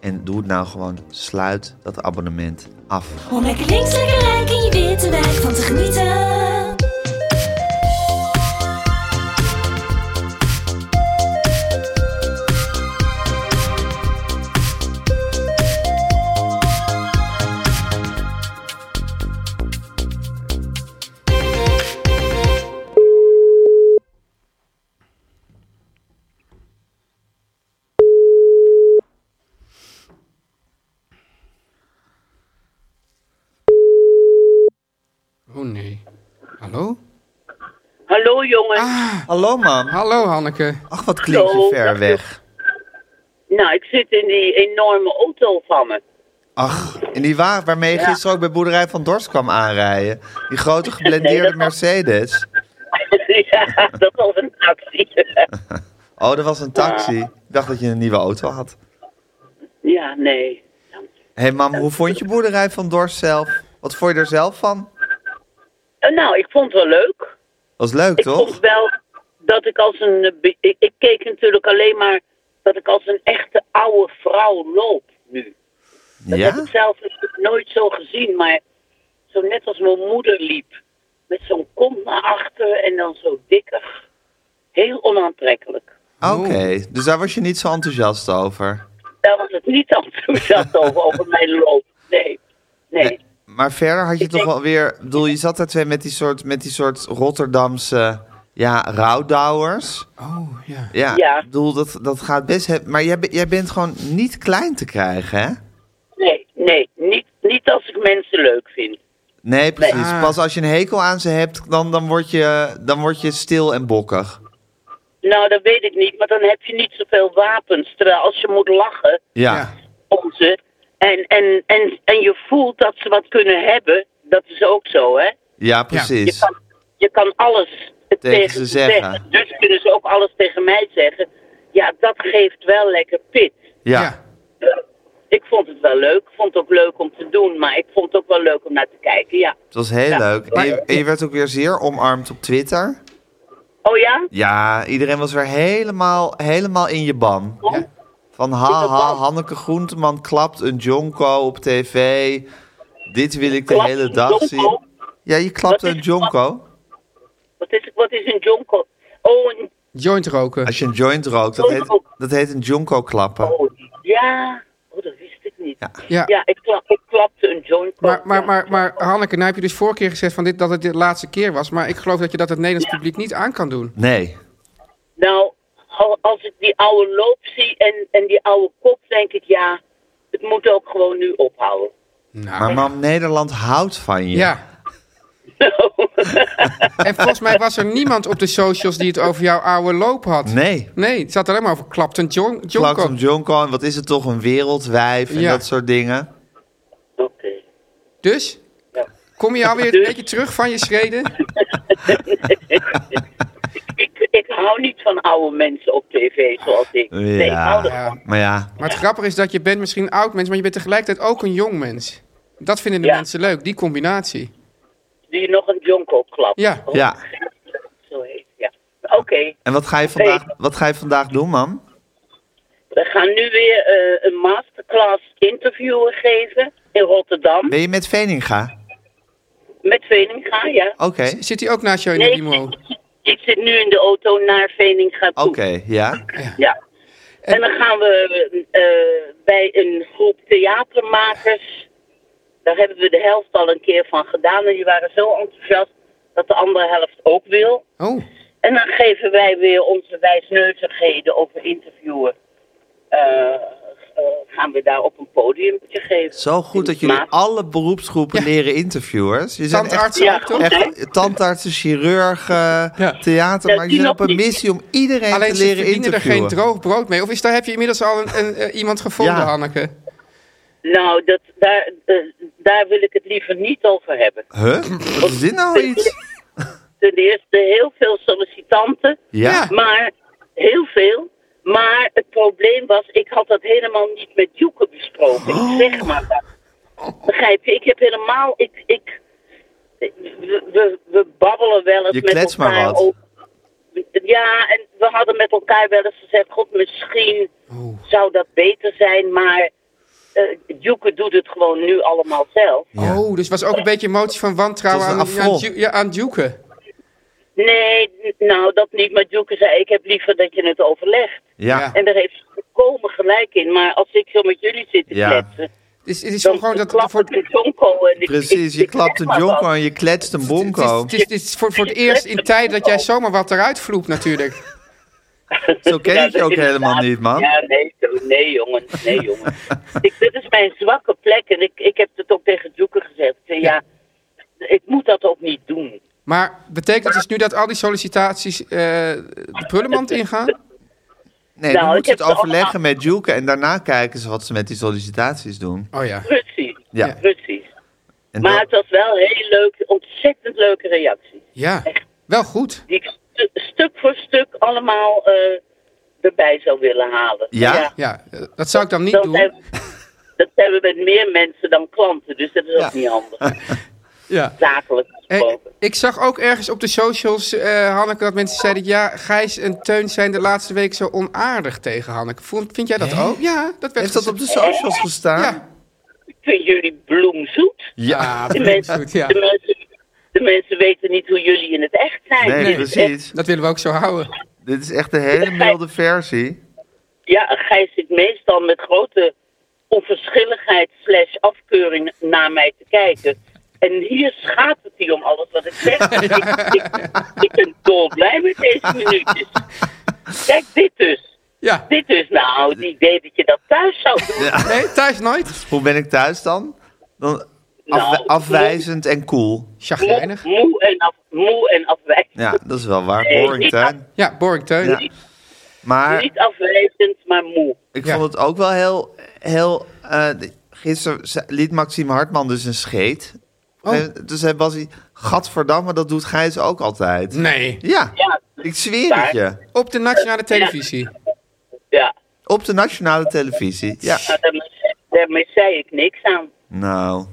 C: en doe het nou gewoon. Sluit dat abonnement af.
H: Om lekker links, lekker rijk in je witte wijk van te genieten.
F: Oh nee. Hallo?
I: Hallo jongens.
H: Ah.
C: Hallo, mam.
F: Hallo Hanneke.
C: Ach, wat klink je
I: Hallo,
C: ver
I: dag,
C: weg.
I: Nou, ik zit in die enorme auto van me.
C: Ach, in die wagen waarmee je
I: Ja.
C: gisteren ook bij Boerderij van Dorst kwam aanrijden. Die grote geblendeerde
I: Nee, dat-
C: Mercedes.
I: ja, dat was een actie.
C: Oh, dat was een taxi. Ik dacht dat je een nieuwe auto had.
I: ja, nee.
C: Hé hey, mam, hoe vond je Boerderij van Dorst zelf? Wat vond je er zelf van?
I: Eh, Nou, ik vond het wel leuk.
C: Was leuk,
I: Ik
C: toch?
I: vond wel dat ik als een... eh, be- Ik, ik keek natuurlijk alleen maar dat ik als een echte oude vrouw loop nu. Dat heb
C: Ja?
I: ik zelf natuurlijk nooit zo gezien, maar zo net als mijn moeder liep. Met zo'n kont naar achter en dan zo dikker. Heel onaantrekkelijk.
C: Oké, dus daar was je niet zo enthousiast over.
I: Daar was het niet enthousiast over, over mijn loop. Nee, nee.
C: Maar verder had je
I: Ik
C: toch
I: denk-
C: wel weer... Ik bedoel, je zat daar twee met die soort, met die soort Rotterdamse... Ja, rouwdouwers.
F: Oh ja.
C: Ja,
I: Ja.
C: ik bedoel, dat, dat gaat best... he- Maar jij, be- jij bent gewoon niet klein te krijgen, hè?
I: Nee, nee, niet, niet als ik mensen leuk vind.
C: Nee, precies.
F: Ah.
C: Pas als je een hekel aan ze hebt, dan, dan, word, je, dan word je stil en bokkig.
I: Nou, dat weet ik niet, maar dan heb je niet zoveel wapens. Terwijl als je moet lachen
C: Ja.
F: Ja.
I: om ze en, en, en, en je voelt dat ze wat kunnen hebben, dat is ook zo, hè?
C: Ja, precies.
I: Je kan, je kan alles tegen,
C: ze
I: ze
C: zeggen.
I: Dus kunnen ze ook alles tegen mij zeggen. Ja, dat geeft wel lekker pit.
C: Ja.
F: Ja.
I: Ik vond het wel leuk. Ik vond het ook leuk om te doen, maar ik vond het ook wel leuk om naar te kijken, ja.
C: het was heel
I: Ja.
C: leuk. En je, en je werd ook weer zeer omarmd op Twitter.
I: Oh ja?
C: Ja, iedereen was weer helemaal, helemaal in je ban.
I: Ja.
C: Van
I: In
C: ha
I: de
C: ha,
I: ban.
C: Hanneke Groenteman klapt een jonko op tv. Dit wil ik de
I: Klapt
C: hele
I: een
C: dag
I: jonko?
C: zien. Ja, je klapt
I: Wat is
C: een
I: een
C: jonko.
I: Wat is, wat is een jonko? Oh, een,
F: Joint roken.
C: Als je een joint rookt, dat heet,
I: Jonko.
C: dat heet een jonko klappen.
I: oh ja. Oh, dat wist ik niet. Ja,
F: Ja.
I: ik, klap, ik klapte een joint.
F: Maar, maar,
I: Ja.
F: maar, maar Hanneke, nou heb je dus vorige keer gezegd van dit, dat het de laatste keer was. Maar ik geloof dat je dat het Nederlands publiek niet aan kan doen.
C: Nee.
I: Nou, al- als ik die oude loop zie en, en die oude kop, denk ik, ja, het moet ook gewoon nu ophouden.
C: Maar
F: Nou.
C: mam, Nederland houdt van je.
F: Ja. En volgens mij was er niemand op de socials die het over jouw oude loop had.
C: Nee.
F: Nee, het zat alleen maar over Clapton John,
C: Jonko.
F: Jonko.
C: Jonko, en wat is het toch een wereldwijf en
F: Ja.
C: dat soort dingen.
I: Oké.
F: Dus, kom je alweer
I: Dus-
F: een beetje terug van je schreden?
I: Ik, ik hou niet van oude mensen op tv zoals ik. Nee, ik hou er-
F: Ja.
C: Maar ja,
F: Maar het grappige is dat je bent misschien een oud mens, maar je bent tegelijkertijd ook een jong mens. Dat vinden de
I: Ja.
F: mensen leuk, die combinatie.
I: Doe je nog een jonko klap?
F: Ja.
I: Oh,
C: ja.
I: Zo heet het, ja. Oké,
C: En wat ga je vandaag, wat ga je vandaag doen, mam?
I: we gaan nu weer eh, een masterclass interviewen geven in Rotterdam.
C: Ben je met Veninga?
I: Met Veninga, ja.
C: Oké,
F: Zit hij ook naast jou in
I: Nee,
F: de
I: ik,
F: limo?
I: ik- ik zit nu in de auto naar Veninga toe.
C: oké, ja.
I: Ja. En dan gaan we eh, bij een groep theatermakers. Daar hebben we de helft al een keer van gedaan. En die waren zo enthousiast dat de andere helft ook wil.
F: Oh,
I: En dan geven wij weer onze wijsneuzigheden over interviewen. Eh, eh, gaan we daar op een podium geven.
C: Zo goed dat jullie
I: Maar-
C: alle beroepsgroepen leren interviewers. Je bent echt,
F: tandartsen
I: Ja,
F: ook toch?
I: goed.
C: echt tandartsen, chirurgen,
F: Ja.
C: theater.
I: Ja,
C: Maar jullie
I: die
C: zijn
I: nog
C: op een
I: niet.
C: missie om iedereen
F: Alleen
C: te
F: ze
C: leren
F: verdienen er geen
C: interviewen.
F: droog brood mee. Of is daar, heb je inmiddels al een, een, eh, iemand gevonden,
C: Ja.
F: Hanneke?
I: Nou, dat, daar, eh, daar wil ik het liever niet over hebben.
C: Huh? Wat is dit nou iets?
I: Ten eerste heel veel sollicitanten.
C: Ja.
I: Maar heel veel. Maar het probleem was, ik had dat helemaal niet met Joeken besproken. Ik
C: Oh.
I: Zeg maar dat. Begrijp je? Ik heb helemaal. Ik, ik, we, we, we babbelen wel eens
C: Je
I: met
C: klets maar
I: elkaar
C: wat.
I: over. Ja, en we
C: Oh.
I: hadden met elkaar wel eens gezegd: God, misschien zou dat beter zijn, maar eh, Joeke doet het gewoon nu allemaal zelf.
F: Oh, dus was ook een beetje emotie van wantrouwen
C: Het
F: aan,
C: was een
F: aan,
C: afval.
F: Ju- ja, aan Duke.
I: Nee, n- nou dat niet. Maar Joeke zei, ik heb liever dat je het overlegt.
C: Ja.
I: En daar heeft ze volkomen gelijk in. Maar als ik zo met jullie zit te
C: Ja.
I: kletsen,
F: Het is, het is
I: dan
F: gewoon dat
I: klap
F: voor,
I: ik een jonko. En ik-
C: Precies,
I: ik-
C: je
I: ik
C: klapt
I: zeg
C: een
I: maar wat.
C: jonko en je kletst een
F: het is,
C: bonko.
F: het is, het is voor, voor het eerst in tijd dat jij zomaar wat eruit vloept natuurlijk.
C: Zo ken
I: Ja,
C: ik je
I: dat
C: ook
I: is
C: helemaal
I: inderdaad-
C: niet, man.
I: Ja, nee, zo- nee jongen. Nee, jongen. ik, dit is mijn zwakke plek. En ik, ik heb het ook tegen Joeken gezegd. Ik zei, ja, ik moet dat ook niet doen.
F: Maar betekent het dus nu dat al die sollicitaties eh, de prullenmand ingaan?
C: Nee,
I: Nou,
C: dan
I: ik
C: moet je
I: heb
C: het
I: ze
C: overleggen
I: allemaal-
C: met Juke en daarna kijken ze wat ze met die sollicitaties doen.
F: Oh ja.
I: Precies.
C: Ja.
I: Precies.
C: En
I: Maar
C: dat-
I: het was wel heel leuk. Ontzettend leuke reacties.
F: Ja, wel goed.
I: Die ik stu- stuk voor stuk allemaal eh, erbij zou willen halen.
C: Ja?
F: Ja, eh, dat zou ik dan niet
I: dat
F: doen.
I: Hebben, dat hebben we met meer mensen dan klanten. Dus dat is ook niet handig.
F: Ja.
I: Zakelijk
F: Hey,
I: gesproken.
F: Eh, ik zag ook ergens op de socials, eh, Hanneke, dat mensen zeiden... ja, Gijs en Teun zijn de laatste week zo onaardig tegen Hanneke. Vond, vind jij dat ook? Ja, dat werd
C: Heeft dat op
F: gezegd.
C: de socials gestaan?
F: Ja.
I: Ik vind jullie bloemzoet.
C: Ja.
I: De
F: mensen,
I: mensen,
F: goed, ja.
I: de, mensen, de mensen weten niet hoe jullie in het echt zijn.
C: Nee,
I: Dus echt-
C: precies.
F: Dat willen we ook zo houden.
C: Dit is echt een hele milde versie.
I: ja, Gijs zit meestal met grote onverschilligheid slash afkeuring naar mij te kijken. En hier schaadt het hij om alles wat ik zeg. ik, ik, ik ben dolblij met deze minuutjes. Kijk, dit dus.
F: Ja.
I: Dit dus. Nou, het idee dat je dat thuis zou doen.
F: Nee, thuis nooit.
C: Hoe ben ik thuis dan? dan
I: Nou,
C: afwij- afwijzend en cool.
I: Moe,
F: Chagrijnig.
I: moe en, af, moe en afwijzend.
C: Ja, dat is wel waar. Boring tuin.
F: Ja, boring Teun.
C: Ja. Maar
I: Niet afwijzend, maar moe.
C: ik
F: Ja.
C: vond het ook wel heel... heel eh, de- gisteren ze- liet Maxime Hartman dus een scheet.
F: Oh.
C: En Dus hij was hij... Gadverdamme, dat doet Gijs ook altijd.
F: Nee.
C: Ja,
I: Ja,
C: ik zweer het je.
F: Op de nationale televisie.
I: ja.
C: Op de nationale televisie. Ja.
I: Nou, daarmee, daarmee zei ik niks aan.
C: Nou,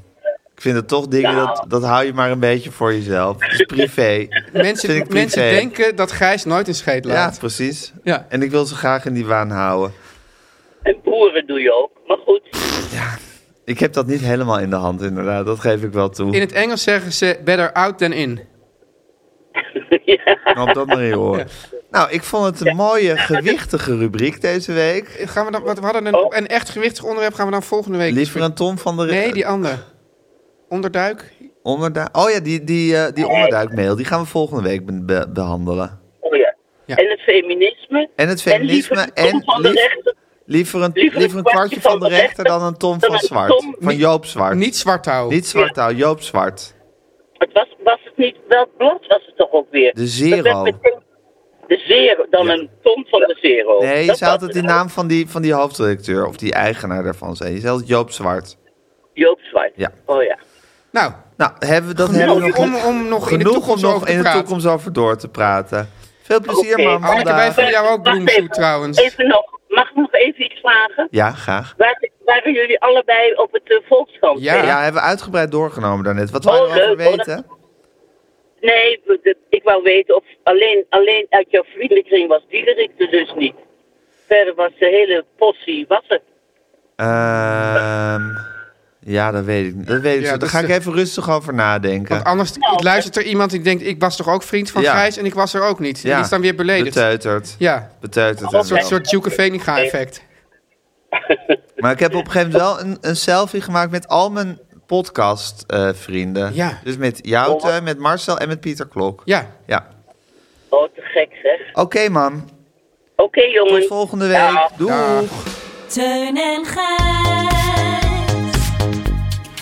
C: ik vind het toch dingen, dat, dat hou je maar een beetje voor jezelf. Het is privé. Vind
F: Mensen,
C: ik
F: mensen
C: privé.
F: denken dat Gijs nooit een scheet
C: Ja,
F: laat.
C: precies.
F: Ja.
C: En ik wil ze graag in die waan houden.
I: En boeren doe je ook. Maar goed,
C: Ik heb dat niet helemaal in de hand, inderdaad. Dat geef ik wel
F: In
C: toe.
F: het Engels zeggen ze better out than in.
C: Kan op dat maar in horen. Nou, ik vond het een mooie, gewichtige rubriek deze week.
F: Gaan we dan, wat, we hadden een, een echt gewichtig onderwerp, gaan we dan volgende week...
C: Liever een Tom van de
F: Nee, die ander. Onderduik?
C: onderduik. Oh ja, die, die, eh, die onderduikmail. Die gaan we volgende week be- be- behandelen.
I: oh ja.
F: Ja.
I: En het feminisme.
C: En het feminisme
I: liever
C: en
I: een Tom van de
C: lief-
I: rechter.
C: Liever een, liever een kwartje van de rechter dan een Tom van
I: dan een
C: Zwart.
I: Tom-
C: Van Joop Zwart.
F: Niet zwart houden.
C: Niet Zwart, nou, Joop Zwart.
I: Het was, was het niet, welk blad was het toch ook weer?
C: De zero.
I: Dat werd meteen- De zero, dan
C: Ja.
I: een ton van de zero.
C: Nee, je
I: Dat
C: zou
I: was
C: altijd die
I: het.
C: naam van die, van die hoofdredacteur of die eigenaar daarvan zijn. Je zei altijd Joop Zwart.
I: Joop Zwart.
C: Ja.
I: Oh ja.
F: Nou,
C: Nou, hebben we dat
F: Genoeg
C: hebben we nog
F: om- om nog in de
C: genoeg
F: toekomst
C: om nog
F: over te
C: in de
F: praten.
C: toekomst over door te praten. Veel plezier,
I: Oké.
C: man.
F: Hanneke, wij
C: vandaag.
F: vinden jou ook
I: Wacht
F: bloemzoet
I: even.
F: trouwens.
I: Even nog, mag ik nog even iets vragen?
C: Ja, graag.
I: Waar- Waren jullie allebei op het eh, Volkskrant?
F: Ja.
C: Ja. hebben we uitgebreid doorgenomen daarnet. Wat
I: Oh,
C: wou je erover
I: leuk. Oh, dat-
C: weten?
I: Nee, we- de- ik wou weten of alleen, alleen uit jouw vriendenkring was Diederik er dus niet. Verder was de hele possie, was het.
C: Ehm, ja, dat weet ik niet. Dat weet ik
F: Ja,
C: zo.
F: dat
C: Daar ga
F: is
C: ik
F: de-
C: even rustig over nadenken.
F: want anders luistert er iemand die denkt... ik was toch ook vriend van
C: Ja. eh,
F: Gijs en ik was er ook niet. Die is dan weer beledigd.
C: Beteuterd.
F: Ja,
C: Beteuterd. dus
F: een soort,
C: en zo.
F: soort Duke Veninga effect.
C: Maar ik heb op een gegeven moment wel een, een selfie gemaakt met al mijn podcastvrienden. vrienden.
F: Ja.
C: Dus met jou, Teun, met Marcel en met Pieter Klok.
F: Ja,
C: Ja.
I: Oh, te gek zeg.
C: Oké, man.
I: Oké jongen.
C: Tot volgende week.
I: Dag.
C: Doeg.
F: Dag.
H: Teun en Gijs.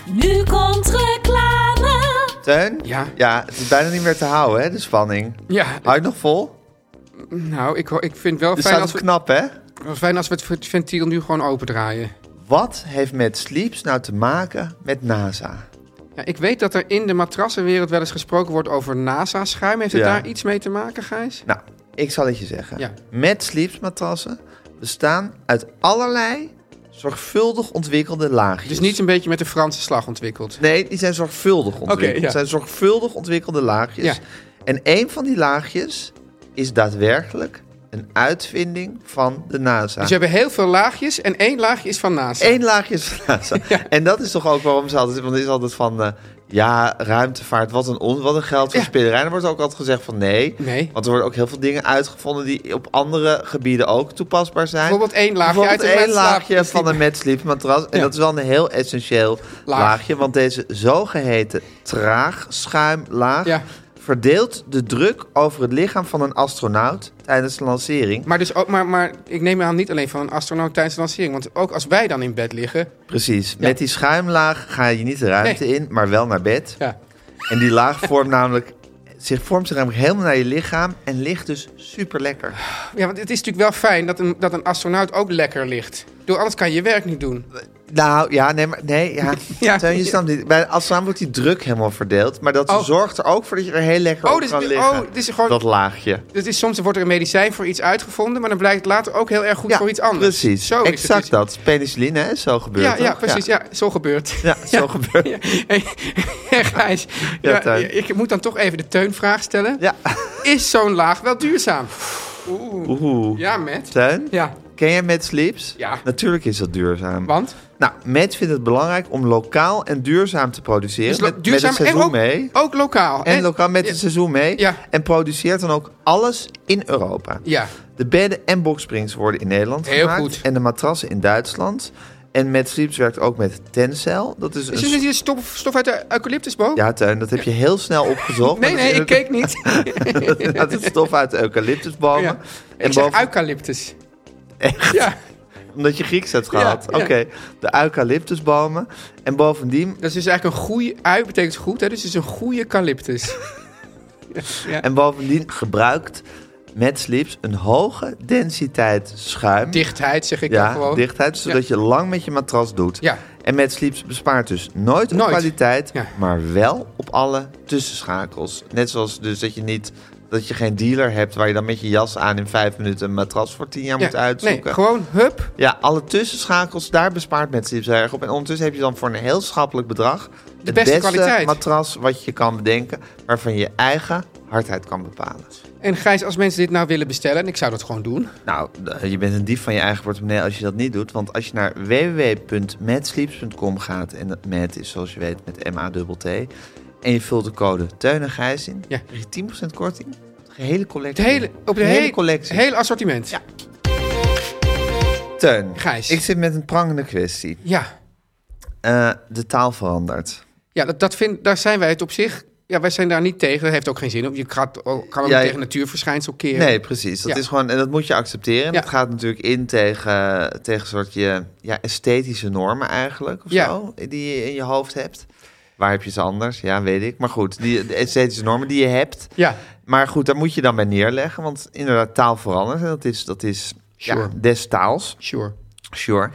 H: Nu komt reclame.
C: Teun?
F: Ja.
C: Ja, het is bijna niet meer te houden, hè, de spanning.
F: ja.
C: Hou je het nog vol?
F: Nou, ik, ho- ik vind wel
C: Het
F: fijn
C: staat op
F: als, Oh, we,
C: knap, hè?
F: wel fijn als we het ventiel nu gewoon opendraaien.
C: Wat heeft met Sleeps nou te maken met NASA?
F: Ja, ik weet dat er in de matrassenwereld wel eens gesproken wordt over NASA-schuim. Heeft het
C: Ja.
F: daar iets mee te maken, Gijs?
C: Nou, ik zal het je zeggen.
F: Ja.
C: Met Sleeps matrassen bestaan uit allerlei zorgvuldig ontwikkelde laagjes.
F: Dus niet een beetje met de Franse slag ontwikkeld.
C: Nee, die zijn zorgvuldig ontwikkeld.
F: Oké, ja.
C: Het zijn zorgvuldig ontwikkelde laagjes.
F: Ja.
C: En een van die laagjes is daadwerkelijk een uitvinding van de NASA.
F: Dus je hebt heel veel laagjes en één laagje is van NASA.
C: Eén laagje is van NASA. En dat is toch ook waarom ze altijd... Want het is altijd van... eh, ja, ruimtevaart, wat een, on, wat een geldverspillerij. En er wordt ook altijd gezegd van nee.
F: Nee.
C: Want er worden ook heel veel dingen uitgevonden... die op andere gebieden ook toepasbaar zijn.
F: Bijvoorbeeld één laagje
C: Bijvoorbeeld
F: uit een
C: één
F: matslaap-
C: laagje van een matslaap matras. En
F: Ja.
C: dat is wel een heel essentieel
F: Laag.
C: laagje. Want deze zogeheten traagschuimlaag...
F: Ja.
C: verdeelt de druk over het lichaam van een astronaut... tijdens de lancering.
F: Maar, dus ook, maar, maar ik neem aan niet alleen van een astronaut tijdens de lancering. Want ook als wij dan in bed liggen.
C: Precies. Met die schuimlaag ga je niet de ruimte
F: Nee.
C: in, maar wel naar bed.
F: Ja.
C: En die laag vormt namelijk, zich vormt zich namelijk helemaal naar je lichaam en ligt dus super lekker.
F: ja, want het is natuurlijk wel fijn dat een, dat een astronaut ook lekker ligt. Ik bedoel, anders kan je je werk niet doen.
C: Nou ja, nee, maar nee, ja.
F: Ja.
C: Teun, je snapt niet. Bij de astronaut wordt die druk helemaal verdeeld, maar dat
F: Oh.
C: zorgt er ook voor dat je er heel lekker
F: Oh,
C: op
F: dus-
C: kan
F: oh,
C: liggen.
F: dus gewoon-
C: Dat laagje.
F: Dus is, soms wordt er een medicijn voor iets uitgevonden. Maar dan blijkt het later ook heel erg goed voor iets anders.
C: Precies.
F: Zo is
C: exact
F: het. dus.
C: dat. Penicilline, hè? Zo gebeurt
F: Ja,
C: toch?
F: ja, precies. Ja. zo gebeurt.
C: Ja, zo gebeurt
F: Ja. Hey, Gijs,
C: Ja,
F: ja,
C: Teun.
F: ik moet dan toch even de teunvraag stellen.
C: Ja.
F: Is zo'n laag wel duurzaam? Oeh.
C: Oeh.
F: Ja, met.
C: Teun,
F: Ja,
C: ken jij Mad Sleeps?
F: Ja.
C: Natuurlijk is dat duurzaam.
F: want?
C: Nou, Met vindt het belangrijk om lokaal en duurzaam te produceren.
F: Dus lo-
C: met,
F: duurzaam
C: met het
F: en
C: seizoen
F: ook,
C: mee.
F: ook lokaal.
C: En lokaal met
F: ja,
C: het seizoen mee.
F: Ja.
C: En produceert dan ook alles in Europa.
F: Ja.
C: De bedden en boksprings worden in Nederland
F: Heel
C: gemaakt.
F: goed.
C: En de matrassen in Duitsland. En Met Sleeps werkt ook met Tencel. Dat is
F: Is
C: een...
F: dit hier stof, stof uit de eucalyptusboom?
C: Dus- Ja, Tuin, dat heb je heel snel opgezocht.
F: nee,
C: Maar
F: nee, ik
C: dat is
F: keek niet.
C: inderdaad- Dat is stof uit eucalyptusbomen.
F: Ja.
C: En
F: Ik zeg
C: boven-
F: eucalyptus.
C: Echt?
F: Ja,
C: Omdat je Grieks hebt gehad.
F: Ja, ja.
C: Oké, de eucalyptusbomen. En bovendien
F: dat is dus eigenlijk een goede... Ui betekent goed, hè? Dus het is een goede eucalyptus. Ja.
C: En bovendien gebruikt met slips een hoge densiteit schuim.
F: Dichtheid zeg ik dan
C: ja,
F: gewoon.
C: dichtheid, zodat je lang met je matras doet.
F: Ja.
C: En met slips bespaart dus nooit op
F: Nooit.
C: kwaliteit,
F: Ja.
C: maar wel op alle tussenschakels. Net zoals dus dat je niet dat je geen dealer hebt waar je dan met je jas aan in vijf minuten een matras voor tien jaar
F: Ja,
C: moet uitzoeken.
F: Nee, gewoon hup.
C: Ja, alle tussenschakels, daar bespaart met slips heel erg op. En ondertussen heb je dan voor een heel schappelijk bedrag het
F: beste
C: beste
F: kwaliteit.
C: matras wat je kan bedenken, waarvan je eigen hardheid kan bepalen.
F: En Gijs, als mensen dit nou willen bestellen... en ik zou dat gewoon doen.
C: Nou, d- je bent een dief van je eigen portemonnee als je dat niet doet. Want als je naar www.matsleeps.com gaat... en dat Matt is zoals je weet met M-A-T-T... en je vult de code Teun en Gijs in...
F: Ja.
C: krijg je 10% korting op de hele
F: De
C: collectie.
F: hele, op de
C: hele
F: hele-
C: collectie.
F: hele assortiment. Ja.
C: Teun,
F: Gijs.
C: ik zit met een prangende kwestie.
F: ja.
C: Eh, de taal verandert.
F: dat, dat vind, daar zijn wij het op zich... Ja, wij zijn daar niet tegen. Dat heeft ook geen zin. op. Je gaat, ook- kan
C: Ja,
F: ook niet
C: je-
F: tegen natuurverschijnsel keren.
C: Nee, precies. Dat
F: Ja.
C: is gewoon, en dat moet je accepteren. En
F: Ja.
C: Dat gaat natuurlijk in tegen, tegen een soort je ja, esthetische normen eigenlijk. Of
F: Ja.
C: zo, die je in je hoofd hebt. Waar heb je ze anders? Ja, weet ik. Maar goed, die, de esthetische normen die je hebt.
F: Ja.
C: Maar goed, daar moet je dan bij neerleggen. Want inderdaad, taal verandert. En dat is, dat is ja,
F: Sure.
C: des taals.
F: Sure.
C: Sure.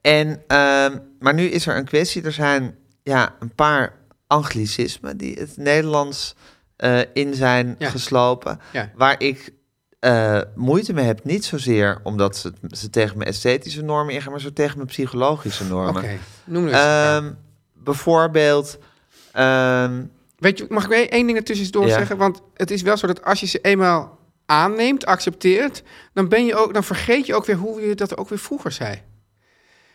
C: En, ehm, maar nu is er een kwestie. Er zijn ja, een paar anglicismen die het Nederlands eh, in zijn
F: Ja.
C: geslopen.
F: Ja.
C: Waar ik eh, moeite mee heb. Niet zozeer omdat ze, ze tegen mijn esthetische normen ingaan, maar zo tegen mijn psychologische normen.
F: Oké, noem eens.
C: Ehm, bijvoorbeeld. ehm,
F: Weet je, mag ik één ding ertussen door
C: Ja.
F: zeggen? Want het is wel zo dat als je ze eenmaal aanneemt, accepteert, dan, ben je ook, dan vergeet je ook weer hoe je dat ook weer vroeger zei.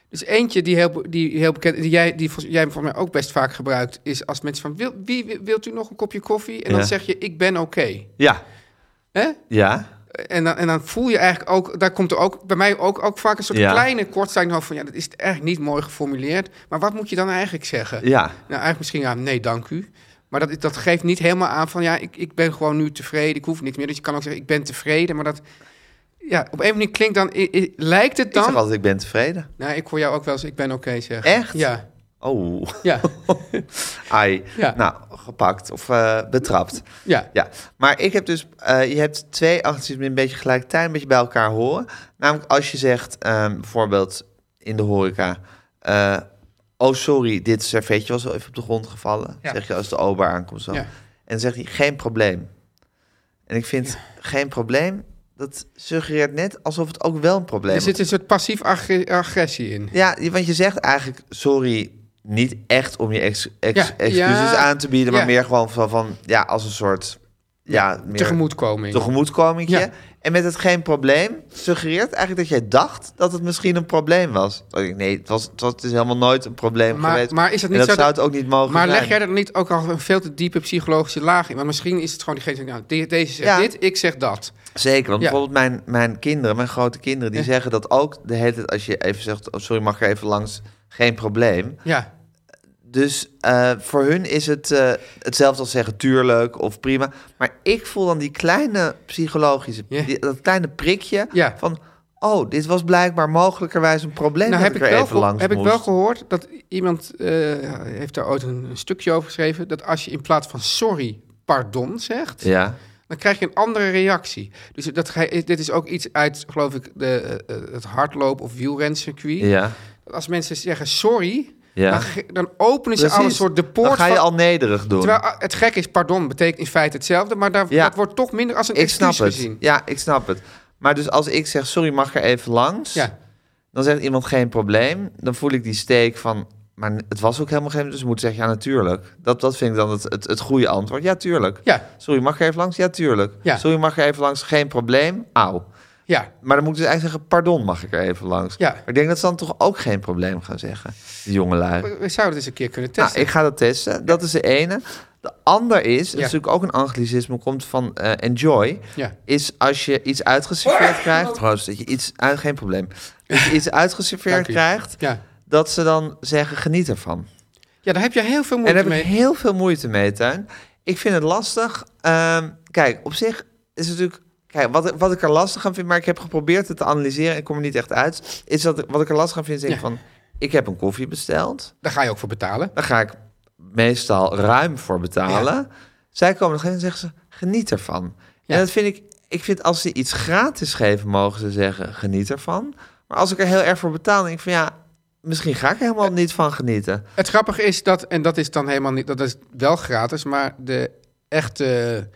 F: Dus eentje die heel, be- die heel bekend, die jij, die volgens- jij voor mij ook best vaak gebruikt, is als mensen van, wil, wie, wie- wilt u nog een kopje koffie? En
C: Ja.
F: dan zeg je, ik ben oké.
C: ja,
F: hè?
C: ja.
F: En, dan, en dan voel je eigenlijk ook, daar komt er ook bij mij ook, ook vaak een soort
C: Ja.
F: kleine kortsluiting over van, ja, dat is eigenlijk niet mooi geformuleerd, maar wat moet je dan eigenlijk zeggen?
C: Ja,
F: Nou, eigenlijk misschien ja, nee, dank u. Maar dat, dat geeft niet helemaal aan van ja, ik, ik ben gewoon nu tevreden, ik hoef niks meer. Dus je kan ook zeggen, ik ben tevreden, maar dat. Ja, op een manier klinkt dan, i- i- lijkt het
C: ik zeg
F: dan.
C: altijd ik ben tevreden.
F: Nou, ik hoor jou ook wel eens, ik ben oké zeggen.
C: Echt?
F: Ja.
C: Oh,
F: Ja.
C: ai.
F: Ja.
C: Nou, gepakt of eh, betrapt.
F: ja.
C: Ja, maar ik heb dus, eh, je hebt twee anglicismen die een beetje gelijk tijd, een beetje bij elkaar horen. Namelijk als je zegt, ehm, bijvoorbeeld in de horeca, eh, oh sorry, dit servetje was wel even op de grond gevallen.
F: Ja.
C: Zeg je als de ober aankomt zo.
F: Ja.
C: En dan zegt hij, geen probleem. En ik vind, geen probleem, dat suggereert net alsof het ook wel een probleem
F: Er
C: is.
F: zit een soort passief agg- agressie in.
C: Ja, je- want je zegt eigenlijk sorry niet echt om je ex, ex-
F: Ja,
C: excuses
F: ja,
C: aan te bieden, maar
F: ja.
C: meer gewoon van, van ja, als een soort ja, meer
F: Tegemoetkoming.
C: tegemoetkomingje.
F: Ja.
C: En met het geen probleem suggereert eigenlijk dat jij dacht dat het misschien een probleem was. Dat ik, Nee, het, was, het, was, het is helemaal nooit een probleem
F: Maar-
C: geweest.
F: maar is het
C: en
F: niet
C: dat
F: zo
C: zou
F: dat-
C: het ook niet mogen
F: Maar
C: zijn.
F: leg jij er niet ook al een veel te diepe psychologische laag in? Want misschien is het gewoon diegene die nou, de- deze zegt
C: Ja.
F: dit, ik zeg dat.
C: Zeker, want
F: Ja.
C: bijvoorbeeld mijn, mijn kinderen, mijn grote kinderen... die
F: Ja.
C: zeggen dat ook de hele tijd als je even zegt... Oh, sorry, mag ik er even langs? Geen probleem.
F: Ja.
C: Dus eh, voor hun is het eh, hetzelfde als zeggen tuurlijk of prima. Maar ik voel dan die kleine psychologische,
F: Ja.
C: die- dat kleine prikje
F: Ja.
C: van... oh, dit was blijkbaar mogelijkerwijs een probleem
F: nou
C: dat
F: heb,
C: ik
F: ik
C: er
F: wel,
C: even
F: geho-
C: langs
F: heb ik
C: moest.
F: wel gehoord dat iemand eh, heeft daar ooit een, een stukje over geschreven. Dat als je in plaats van sorry, pardon zegt,
C: Ja,
F: dan krijg je een andere reactie. Dus dat, ga- dit is ook iets uit, geloof ik, de, eh, eh, het hardloop- of wielrencircuit.
C: ja,
F: Als mensen zeggen sorry,
C: ja.
F: dan, ge- dan openen ze al een
C: Precies.
F: soort de
C: Dan
F: poort
C: ga je
F: van-
C: al nederig doen.
F: Terwijl ah, het gek is, pardon, betekent in feite hetzelfde, maar daar,
C: Ja.
F: dat wordt toch minder als een
C: ik snap
F: excuus
C: het.
F: gezien.
C: Ja, ik snap het. Maar dus als ik zeg, sorry, mag ik er even langs?
F: Ja.
C: Dan zegt iemand geen probleem. Dan voel ik die steek van, maar het was ook helemaal geen... Dus ik moet zeggen, ja, natuurlijk. Dat, dat vind ik dan het, het, het goede antwoord. Ja, tuurlijk.
F: Ja,
C: Sorry, mag ik er even langs? Ja, tuurlijk.
F: Ja.
C: Sorry, mag ik er even langs? Geen probleem. Auw.
F: ja.
C: Maar dan moet ik dus eigenlijk zeggen, pardon, mag ik er even langs?
F: Ja.
C: Maar ik denk dat ze dan toch ook geen probleem gaan zeggen, die jongelui.
F: We we zouden het eens een keer kunnen
C: Nou,
F: testen.
C: ik ga dat testen. Dat is de ene. De ander is, dat
F: Ja.
C: is natuurlijk ook een anglicisme, komt van eh, enjoy.
F: Ja.
C: Is als je iets uitgeserveerd krijgt. Proost, dat je iets uit, geen probleem. Dat je iets uitgeserveerd
F: Dank u.
C: krijgt,
F: ja.
C: dat ze dan zeggen: geniet ervan.
F: ja, daar heb je heel veel
C: En
F: moeite
C: daar heb ik
F: mee.
C: heel veel moeite mee, Tuin. Ik vind het lastig. Ehm, kijk, op zich is het natuurlijk... Kijk, wat, ik- wat ik er lastig aan vind, maar ik heb geprobeerd het te analyseren... en ik kom er niet echt uit, is dat ik- wat ik er lastig aan vind... is denk ik
F: Ja.
C: van, ik heb een koffie besteld.
F: Daar ga je ook voor betalen.
C: Daar ga ik meestal ruim voor betalen. Zij komen nog en zeggen ze, geniet ervan.
F: Ja.
C: En dat vind ik... Ik vind als ze iets gratis geven, mogen ze zeggen, geniet ervan. Maar als ik er heel erg voor betaal, denk ik van ja... Misschien ga ik er helemaal niet van genieten.
F: Het grappige is dat, en dat is dan helemaal niet, dat is wel gratis, maar de echte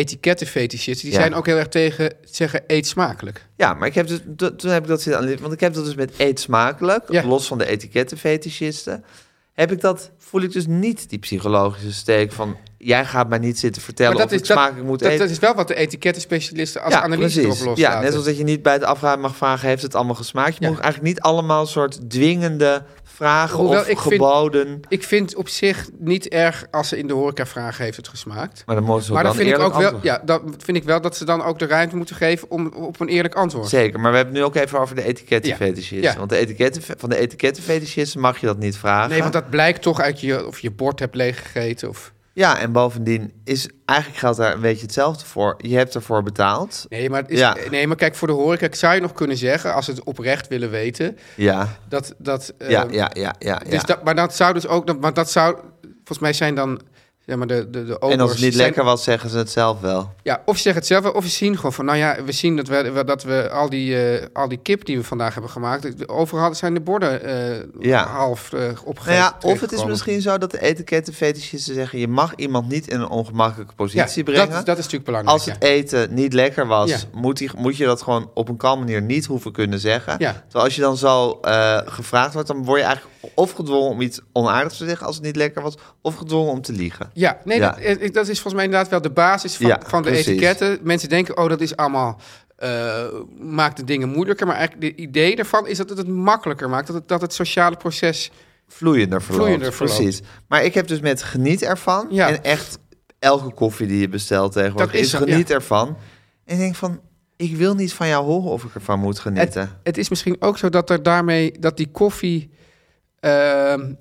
F: etikettenfetischisten, die
C: Ja.
F: zijn ook heel erg tegen het zeggen eet smakelijk.
C: Ja, maar ik heb dus, to- toen heb ik dat zitten analyseren. Want ik heb dat dus met eet smakelijk,
F: Ja.
C: los van de etikettenfetischisten. Heb ik dat, voel ik dus niet die psychologische steek van... jij gaat mij niet zitten vertellen
F: maar dat
C: of ik
F: is, dat,
C: smakelijk moet
F: dat,
C: eten.
F: dat is wel wat de etikettenspecialisten als analyse erop loslaten.
C: Ja, net als dat je niet bij het afruimen mag vragen... heeft het allemaal gesmaakt. Je
F: Ja.
C: moet eigenlijk niet allemaal soort dwingende vragen
F: Hoewel,
C: of
F: ik vind-
C: geboden...
F: Ik vind op zich niet erg als ze in de horeca vragen heeft het gesmaakt.
C: Maar dan mogen ze
F: Maar dan,
C: dan
F: vind ik
C: eerlijk
F: ook wel,
C: antwoord.
F: ja, dan vind ik wel dat ze dan ook de ruimte moeten geven om op een eerlijk antwoord.
C: Zeker, maar we hebben het nu ook even over de etikettenfetischisten.
F: Ja. Ja.
C: Want de etiketten, van de etikettenfetischisten mag je dat niet vragen.
F: Nee, want dat blijkt toch uit je, of je bord hebt leeggegeten. Of...
C: Ja, en bovendien is eigenlijk geldt daar een beetje hetzelfde voor. Je hebt ervoor betaald.
F: Nee, maar het is,
C: Ja.
F: nee, maar kijk, voor de horeca zou je nog kunnen zeggen, als ze het oprecht willen weten,
C: Ja,
F: dat... dat eh,
C: ja, ja, ja, ja.
F: Dus
C: ja.
F: dat, maar dat zou dus ook... dat- Want dat zou... Volgens mij zijn dan... Ja, maar de, de,
C: en
F: de
C: als
F: obers
C: het niet
F: zijn-
C: lekker was, zeggen ze het zelf wel.
F: Ja, of ze zeggen het zelf, wel, of ze zien gewoon van... Nou ja, we zien dat we, we- dat we al, die, eh, al die kip die we vandaag hebben gemaakt... Overal zijn de borden eh,
C: Ja.
F: half eh, opgegeten.
C: Nou ja, of het is
F: terechtgekomen.
C: misschien zo dat de etikettenfetischisten zeggen... je mag iemand niet in een ongemakkelijke positie
F: ja,
C: brengen.
F: Dat, is- dat is natuurlijk belangrijk.
C: als
F: ja.
C: het eten niet lekker was,
F: Ja.
C: moet, die, moet je dat gewoon op een kalme manier niet hoeven kunnen zeggen.
F: Ja.
C: Terwijl als je dan zo eh, gevraagd wordt, dan word je eigenlijk of gedwongen om iets onaardigs te zeggen als het niet lekker was, of gedwongen om te liegen.
F: Ja, nee,
C: Ja.
F: Dat, eh, dat is volgens mij inderdaad wel de basis van,
C: Ja,
F: van de
C: precies.
F: etiketten. Mensen denken, oh, dat is allemaal... eh, maakt de dingen moeilijker. Maar eigenlijk het idee daarvan is dat het het makkelijker maakt. Dat het, dat het sociale proces...
C: Vloeiender verloopt.
F: Vloeiender verloopt.
C: Precies. Maar ik heb dus met geniet ervan.
F: Ja.
C: En echt elke koffie die je bestelt tegenwoordig is,
F: Dat is zo,
C: geniet
F: ja.
C: ervan. En ik denk van, ik wil niet van jou horen of ik ervan moet genieten.
F: Het, het is misschien ook zo dat er daarmee... dat die koffie... ehm,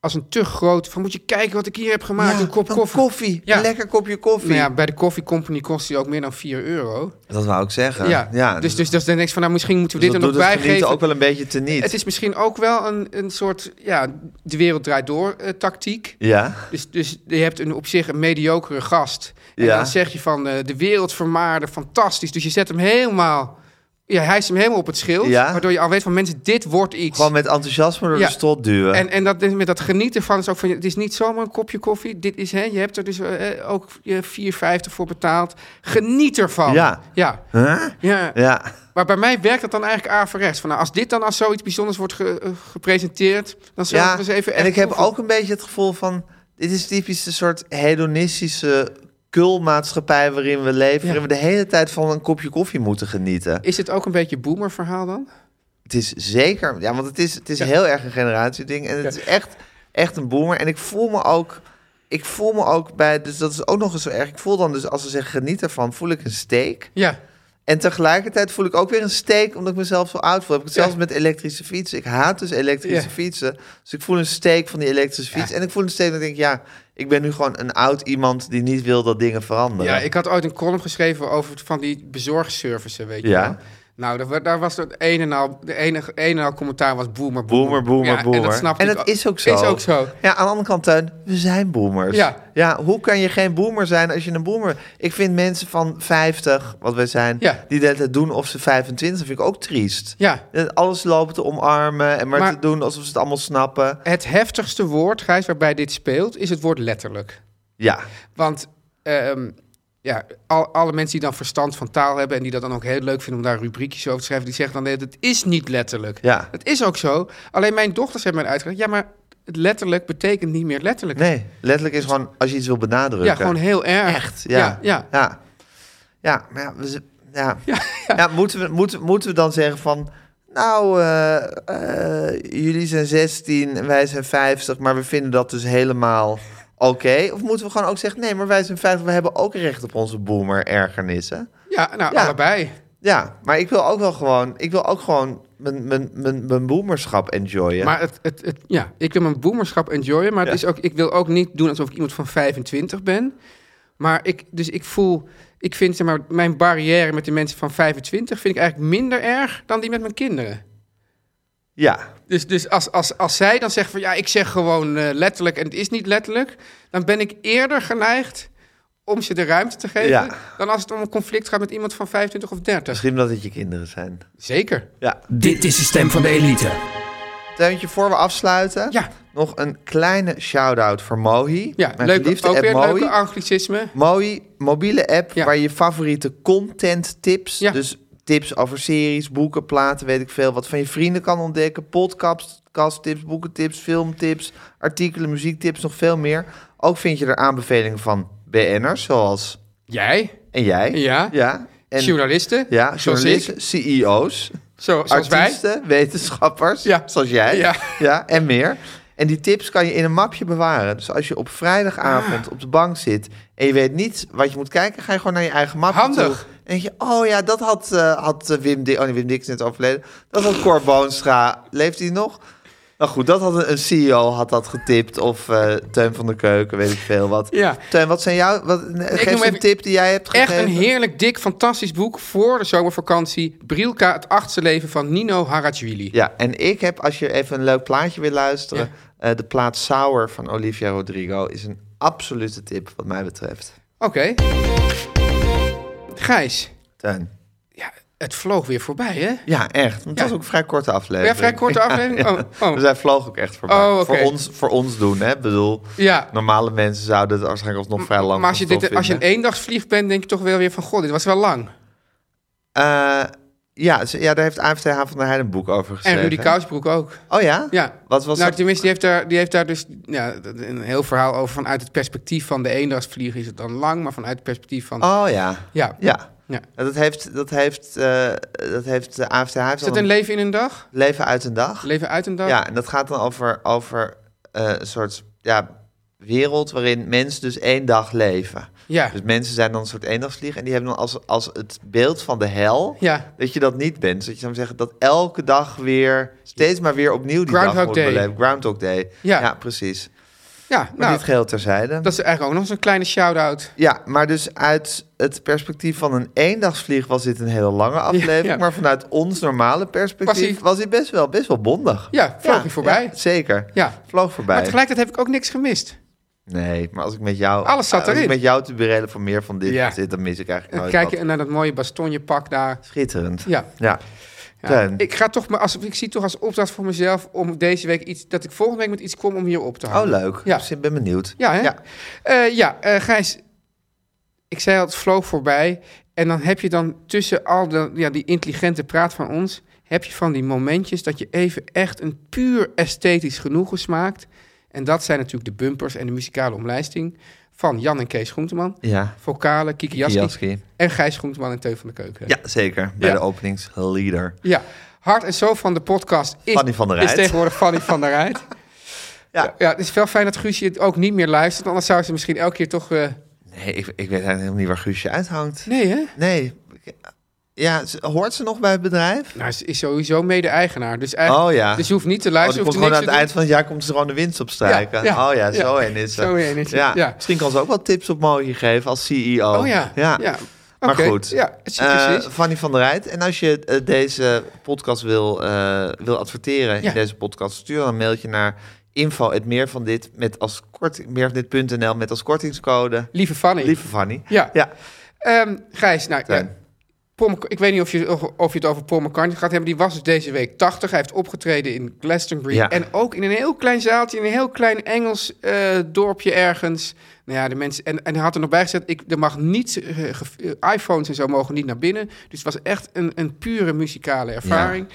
F: als een te groot... van moet je kijken wat ik hier heb gemaakt.
C: Ja,
F: een kop
C: dan
F: koffie. Ja.
C: Een lekker kopje koffie.
F: Nou ja, bij de koffiecompany kost die ook meer dan 4 euro.
C: Dat wou ik zeggen.
F: Ja, dus, dus, dus dan denk je van... nou, misschien moeten we
C: dus
F: dit
C: dat
F: er nog
C: doet het
F: bij
C: genieten
F: geven.
C: ook wel een beetje teniet.
F: Het is misschien ook wel een, een soort... ja, de wereld draait door eh, tactiek.
C: Ja.
F: Dus, dus je hebt een, op zich een mediocre gast. En
C: Ja.
F: dan zeg je van eh, de wereld vermaarde, fantastisch. Dus je zet hem helemaal... Ja, hij is hem helemaal op het schild.
C: Ja.
F: Waardoor je al weet van mensen, dit wordt iets.
C: Gewoon met enthousiasme door
F: Ja.
C: de strot duwen.
F: En, en dat, met dat genieten van is ook van... Het is niet zomaar een kopje koffie. Dit is, hè, je hebt er dus eh, ook eh, 4,50 voor betaald. Geniet ervan.
C: Ja.
F: Ja.
C: Huh?
F: ja.
C: Ja.
F: Maar bij mij werkt dat dan eigenlijk averechts. Van, nou, als dit dan als zoiets bijzonders wordt ge- eh, gepresenteerd... dan zou ik
C: ja.
F: dus even...
C: en
F: echt
C: ik heb
F: proeven.
C: ook een beetje het gevoel van... Dit is typisch een soort hedonistische kulmaatschappij waarin we leven... waarin we de hele tijd van een kopje koffie moeten genieten.
F: Is dit ook een beetje boomerverhaal dan?
C: Het is zeker... Ja, want het is, het is heel erg een generatieding. En het is echt, echt een boomer. En ik voel me ook... Ik voel me ook bij... Dus dat is ook nog eens zo erg. Ik voel dan dus, als ze zeggen geniet ervan... voel ik een steek.
F: Ja.
C: En tegelijkertijd voel ik ook weer een steek omdat ik mezelf zo oud voel. Heb ik het
F: Ja.
C: zelfs met elektrische fietsen. Ik haat dus elektrische
F: Ja.
C: fietsen. Dus ik voel een steek van die elektrische fiets. En ik voel een steek dat ik denk, ja, ik ben nu gewoon een oud iemand die niet wil dat dingen veranderen.
F: Ja, ik had ooit een column geschreven over het- van die bezorgservices, weet je
C: Ja.
F: wel. Nou, daar, wa- daar was het een en al, de enige een en al commentaar was boomer, boomer.
C: Boomer, boomer,
F: Ja,
C: boomer.
F: En dat snapte ik
C: is ook zo.
F: Is ook zo.
C: Ja, aan de andere kant, Teun, we zijn boomers.
F: Ja.
C: ja, hoe kan je geen boomer zijn als je een boomer... Ik vind mensen van 50, wat wij zijn,
F: Ja.
C: die dat doen of ze 25, vind ik ook triest.
F: Ja.
C: Dat Alles lopen te omarmen en maar,
F: Maar-
C: te doen alsof ze het allemaal snappen.
F: Het heftigste woord, Gijs, waarbij dit speelt, is het woord letterlijk.
C: Ja,
F: Want ehm, ja, al, alle mensen die dan verstand van taal hebben... en die dat dan ook heel leuk vinden om daar rubriekjes over te schrijven... die zeggen dan, nee, dat is niet letterlijk.
C: Ja.
F: Het is ook zo. Alleen mijn dochters hebben mij uitgelegd... ja, maar het letterlijk betekent niet meer letterlijk.
C: nee, letterlijk is gewoon als je iets wil benadrukken.
F: Ja, gewoon heel erg.
C: Echt, ja.
F: Ja, ja.
C: ja. Ja, maar ja, we z- ja. Ja, moeten, we, moeten, moeten we dan zeggen van... Nou, eh, eh, jullie zijn 16 en wij zijn 50, maar we vinden dat dus helemaal oké. Of moeten we gewoon ook zeggen, nee, maar wij zijn 50, we hebben ook recht op onze boomer-ergernissen.
F: Ja, nou,
C: Ja.
F: allebei.
C: Ja, maar ik wil ook wel gewoon, ik wil ook gewoon mijn, mijn, mijn, mijn boomerschap enjoyen.
F: Maar het, het, het- ja, ik wil mijn boomerschap enjoyen. Maar het
C: Ja.
F: is ook, ik wil ook niet doen alsof ik iemand van 25 ben. Maar ik, dus ik voel, ik vind zeg maar, mijn barrière met de mensen van 25 vind ik eigenlijk minder erg dan die met mijn kinderen.
C: ja,
F: Dus, dus als, als, als zij dan zeggen van ja, ik zeg gewoon eh, letterlijk en het is niet letterlijk, dan ben ik eerder geneigd om ze de ruimte te geven
C: Ja.
F: dan als het om een conflict gaat met iemand van 25 of 30.
C: misschien omdat het je kinderen zijn.
F: Zeker.
C: Ja.
G: Dit is de stem van de elite.
C: Teuntje, voor we afsluiten,
F: Ja.
C: nog een kleine shout-out voor Mohi.
F: Ja,
C: Mijn
F: leuk,
C: geliefde
F: ook
C: app
F: weer een
C: Mohi.
F: leuke anglicisme.
C: Mooi mobiele app
F: Ja.
C: waar je favoriete content tips,
F: Ja.
C: dus tips over series, boeken, platen, weet ik veel, wat van je vrienden kan ontdekken, podcast podcast tips, boekentips, filmtips, artikelen, muziektips, nog veel meer. Ook vind je er aanbevelingen van BN'ers, zoals
F: Jij,
C: en jij.
F: Ja.
C: ja en,
F: journalisten,
C: Ja,
F: zoals ik,
C: journalisten, CEO's,
F: zo, zoals wij.
C: artiesten, wetenschappers,
F: Ja.
C: zoals jij,
F: Ja.
C: ja, en meer. En die tips kan je in een mapje bewaren. Dus als je op vrijdagavond op de bank zit en je weet niet wat je moet kijken, ga je gewoon naar je eigen mapje toe.
F: Handig.
C: En denk je, oh ja, dat had, eh, had eh, Wim Dik, oh nee, Wim Dik is net overleden. Dat had Cor Boonstra, leeft hij nog? Nou goed, dat had een, een CEO had dat getipt of eh Teun van de Keuken, weet ik veel wat.
F: Ja.
C: Teun, wat zijn jouw, wat, geef
F: noem
C: eens een
F: even-
C: tip die jij hebt gegeven.
F: Echt een heerlijk, dik, fantastisch boek voor de zomervakantie. Brilka, het achtste leven van Nino Harajwili.
C: Ja, en ik heb, als je even een leuk plaatje wil luisteren, eh, de plaat Sour van Olivia Rodrigo is een absolute tip wat mij betreft.
F: Oké. Gijs,
C: Tuin.
F: ja, het vloog weer voorbij, hè?
C: Ja, echt. Want dat
F: Ja.
C: is ook een vrij korte aflevering.
F: Ja, vrij korte aflevering?
C: Ja,
F: Oh, oh.
C: Dus hij vloog ook echt voorbij.
F: Oh, oké.
C: voor, ons, voor ons doen, hè. Ik bedoel,
F: Ja.
C: normale mensen zouden het waarschijnlijk alsnog vrij lang
F: maar als je,
C: van
F: dit, als je een
C: vinden.
F: eendagsvlieg bent, denk je toch wel weer van... God, dit was wel lang. e-
C: Eh, ja, ze- ja, daar heeft AFTH van der Heijden een boek over geschreven.
F: En Rudy
C: hè?
F: Kousbroek ook.
C: Oh ja?
F: Ja.
C: Wat was
F: nou,
C: dat?
F: tenminste, die heeft daar, die heeft daar dus ja, een heel verhaal over. Vanuit het perspectief van de eendagsvlieg is het dan lang, maar vanuit het perspectief van...
C: Oh ja.
F: ja.
C: Ja.
F: Ja.
C: Dat heeft, dat heeft, eh, dat heeft de AFTH... heeft
F: Is
C: al
F: dat een leven in een dag?
C: leven uit een dag?
F: Leven uit een dag?
C: Ja, en dat gaat dan over, over eh, een soort ja, wereld waarin mensen dus één dag leven.
F: Ja.
C: Dus mensen zijn dan een soort eendagsvlieg en die hebben dan als, als het beeld van de hel
F: Ja.
C: dat je dat niet bent. Dus dat je zou zeggen dat elke dag weer, steeds maar weer opnieuw die dag
F: Groundhog
C: moet
F: Day.
C: beleven. Groundhog Day.
F: Ja.
C: precies.
F: ja
C: Maar
F: nou,
C: dit geheel terzijde.
F: dat is eigenlijk ook nog eens een kleine shout-out.
C: Ja, maar dus uit het perspectief van een eendagsvlieg was dit een hele lange aflevering.
F: ja.
C: Maar vanuit ons normale perspectief
F: Was
C: was,
F: ie-
C: dit best wel, best wel bondig.
F: Ja, vloog ie voorbij.
C: zeker.
F: Ja.
C: Vloog voorbij.
F: Maar tegelijkertijd heb ik ook niks gemist.
C: Nou, Nee, maar als ik met jou...
F: Alles zat
C: Als ik
F: erin.
C: met jou te bereden van meer van dit
F: Ja.
C: zit, dan mis ik eigenlijk
F: En
C: nooit
F: kijk
C: wat.
F: naar dat mooie bastonjepak daar.
C: Schitterend.
F: Ja.
C: Ja.
F: Ja.
C: Teun.
F: Ik, ga toch maar als, ik zie toch als opdracht voor mezelf om deze week iets... dat ik volgende week met iets kom om hier op te
C: Oh,
F: houden.
C: leuk.
F: Ja.
C: Dus ik ben benieuwd.
F: Ja, hè? Ja, ja eh, Gijs. Ik zei al, het vloog voorbij. En dan heb je dan tussen al de, ja, die intelligente praat van ons... heb je van die momentjes dat je even echt een puur esthetisch genoegen smaakt. En dat zijn natuurlijk de bumpers en de muzikale omlijsting... van Jan en Kees Groenteman.
C: Ja.
F: Vocalen Kiki Jaski.
C: Jaski.
F: En Gijs Groenteman en Teun van de Keuken.
C: Ja, zeker. Bij
F: Ja.
C: de openingsleader.
F: Ja. Hart en zo van de podcast is,
C: Fanny van der
F: is
C: Rijt.
F: tegenwoordig Fanny van der Rijt.
C: Ja.
F: Ja. ja, het is wel fijn dat Guusje het ook niet meer luistert. Anders zou ze misschien elke keer toch... eh,
C: Nee, ik, ik weet eigenlijk helemaal niet waar Guusje uithangt.
F: Nee, hè?
C: Nee. Ja, ze- hoort ze nog bij het bedrijf?
F: Nou, ze is sowieso mede-eigenaar. Dus, eigenlijk-
C: Oh ja.
F: dus je hoeft niet te
C: Oh, die
F: luisteren.
C: komt
F: je hoeft
C: gewoon aan het
F: niks
C: eind
F: te
C: van het jaar komt ze gewoon de winst op strijken.
F: Ja, ja,
C: oh ja, zo
F: ja.
C: heen is ze.
F: Zo heen is ze,
C: Ja.
F: ja.
C: Misschien kan ze ook wat tips op mooie geven als CEO.
F: doen. Oh ja,
C: ja.
F: ja.
C: Maar
F: Oké,
C: goed,
F: Ja, zie je
C: Eh,
F: precies.
C: Fanny van der Rijt. En als je eh, deze podcast wil, eh, wil adverteren in
F: Ja.
C: deze podcast, stuur dan een mailtje naar info meer van dit met als kort, meer van dit.nl met als kortingscode.
F: Lieve Fanny.
C: Lieve Fanny.
F: Ja.
C: Ja.
F: Ehm, Gijs, nou,
C: Teun.
F: ja, Paul Mc- ik weet niet of je, of- of je het over Paul McCartney gaat hebben. Die was dus deze week 80. Hij heeft opgetreden in Glastonbury.
C: Ja.
F: En ook in een heel klein zaaltje, in een heel klein Engels eh, dorpje ergens. Nou ja, de mensen, en, en hij had er nog bij gezet, ik, er mag niet, eh, ge- eh, iPhones en zo mogen niet naar binnen. Dus het was echt een, een pure muzikale ervaring.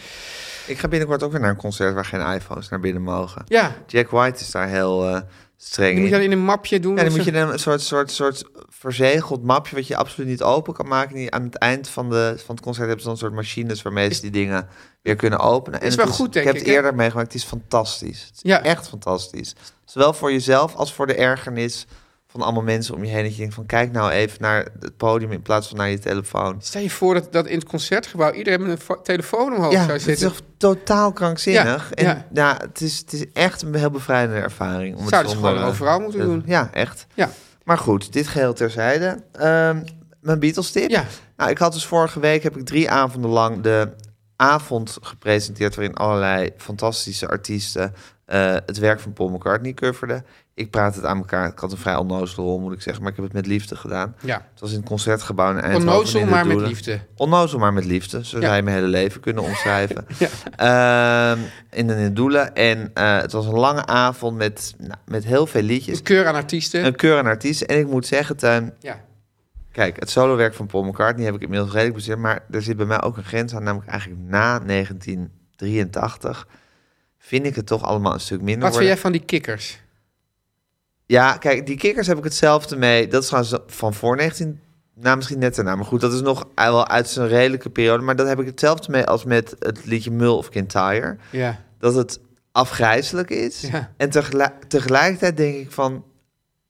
C: Ik ga binnenkort ook weer naar een concert waar geen iPhones naar binnen mogen.
F: Ja,
C: Jack White is daar heel eh, streng
F: die moet
C: in.
F: je dan in een mapje doen. Dus
C: Ja, dan
F: of
C: moet
F: zo.
C: je dan een soort, soort, soort verzegeld mapje wat je absoluut niet open kan maken. Die aan het eind van, de, van het concert hebben ze dan een soort machines waarmee ze die dingen weer kunnen openen. En
F: is
C: het
F: wel goed, denk
C: ik. heb
F: ik,
C: het
F: hè?
C: eerder meegemaakt. Het is fantastisch. Het is
F: Ja.
C: echt fantastisch. Zowel voor jezelf als voor de ergernis van allemaal mensen om je heen. Dat je denkt van kijk nou even naar het podium in plaats van naar je telefoon.
F: Stel je voor dat, dat in het concertgebouw iedereen met een fo- telefoon omhoog
C: Ja,
F: zou
C: het is
F: zitten.
C: toch totaal krankzinnig.
F: Ja,
C: en ja.
F: ja.
C: het, is, het is echt een heel bevrijdende ervaring. Om het
F: Zouden ze
C: zonder,
F: gewoon
C: eh,
F: overal moeten
C: te-
F: doen.
C: Ja, echt.
F: Ja.
C: Maar goed, dit geheel terzijde. Ehm, mijn Beatles tip.
F: Ja.
C: Nou, ik had dus vorige week heb ik drie avonden lang de avond gepresenteerd waarin allerlei fantastische artiesten eh, het werk van Paul McCartney coverden. Ik praat het aan elkaar. Ik had een vrij onnozele rol, moet ik zeggen, maar ik heb het met liefde gedaan.
F: Ja.
C: Het was in het concertgebouw in Eindhoven.
F: Onnozel,
C: in de
F: maar met
C: Doelen.
F: liefde.
C: Onnozel maar met liefde. Zo zou
F: Ja.
C: je mijn hele leven kunnen omschrijven. Ehm, in de doelen. En eh, het was een lange avond met, nou, met heel veel liedjes.
F: Een keur aan artiesten.
C: Een keur aan artiesten. En ik moet zeggen, Tuin...
F: Ja.
C: Kijk, het solowerk van Paul McCartney heb ik inmiddels redelijk bezit. Maar er zit bij mij ook een grens aan. Namelijk eigenlijk na 1983 vind ik het toch allemaal een stuk minder
F: Wat
C: worden.
F: vind jij van die kikkers?
C: Ja, kijk, die kikkers heb ik hetzelfde mee. Dat is trouwens van voor 19... Nou, misschien net daarna. Maar goed, dat is nog wel uit zijn redelijke periode. Maar dat heb ik hetzelfde mee als met het liedje Mul of Kintyre.
F: Ja.
C: Dat het afgrijzelijk is.
F: Ja.
C: En tegelijk, tegelijkertijd denk ik van...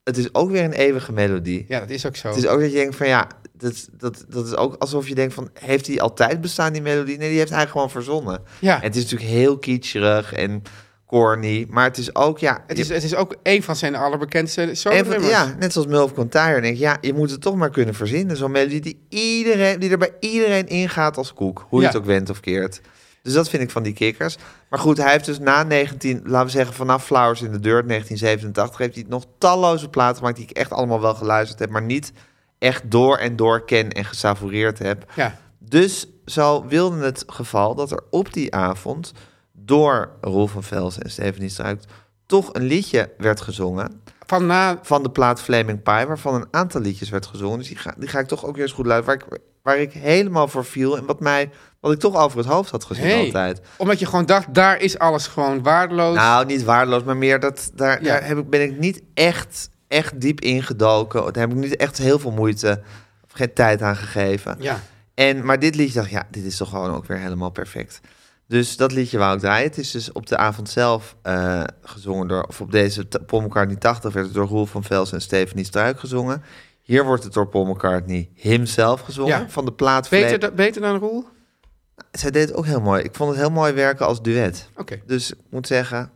C: Het is ook weer een eeuwige melodie.
F: ja, dat is ook zo.
C: Het is ook dat je denkt van ja... Dat, dat, dat is ook alsof je denkt van... Heeft die altijd bestaan, die melodie? Nee, die heeft hij gewoon verzonnen.
F: ja.
C: En het is natuurlijk heel kitscherig en corny. Maar het is ook, ja...
F: Het
C: je-
F: is, het is ook een van zijn allerbekendste
C: en van-
F: solo-nummers.
C: ja, net zoals Mulf Container. Denk ik, ja, je moet het toch maar kunnen verzinnen. Zo'n melodie die, iedereen, die er bij iedereen ingaat als koek. Hoe je
F: Ja.
C: het ook wendt of keert. Dus dat vind ik van die kikkers. Maar goed, hij heeft dus na 19, laten we zeggen vanaf Flowers in the Dirt 1987, heeft hij nog talloze platen gemaakt die ik echt allemaal wel geluisterd heb, maar niet echt door en door ken en gesavoureerd heb.
F: Ja.
C: Dus zo wilde het geval dat er op die avond door Roel van Velsen en Stephanie Struik toch een liedje werd gezongen
F: Van na...
C: van de plaat Flaming Pie, waarvan een aantal liedjes werd gezongen. Dus die ga, die ga ik toch ook weer eens goed luisteren. Waar ik, waar ik helemaal voor viel en wat, mij, wat ik toch over het hoofd had gezien
F: Hey.
C: altijd.
F: Omdat je gewoon dacht, daar is alles gewoon waardeloos.
C: Nou, niet waardeloos, maar meer dat daar,
F: Ja.
C: daar heb ik, ben ik niet echt, echt diep ingedoken. Daar heb ik niet echt heel veel moeite of geen tijd aan gegeven.
F: Ja.
C: En, maar dit liedje dacht ik, ja, dit is toch gewoon ook weer helemaal perfect. Dus dat liedje wou ik draaien. Het is dus op de avond zelf eh, gezongen door... of op deze t- Paul McCartney 80 werd het door Roel van Vels en Stephanie Struik gezongen. Hier wordt het door Paul McCartney himself gezongen.
F: Ja.
C: Van de plaat...
F: Beter,
C: Flam-
F: da- beter dan Roel? Oké.
C: Zij deed het ook heel mooi. Ik vond het heel mooi werken als duet. Dus ik moet zeggen,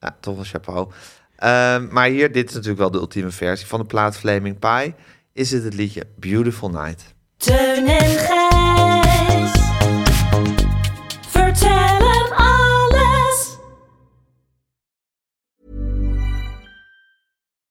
C: ja, toch wel chapeau. Ehm, maar hier, dit is natuurlijk wel de ultieme versie. Van de plaat Flaming Pie is het het liedje Beautiful Night.
H: Teun en Gijs. Vertel hem alles.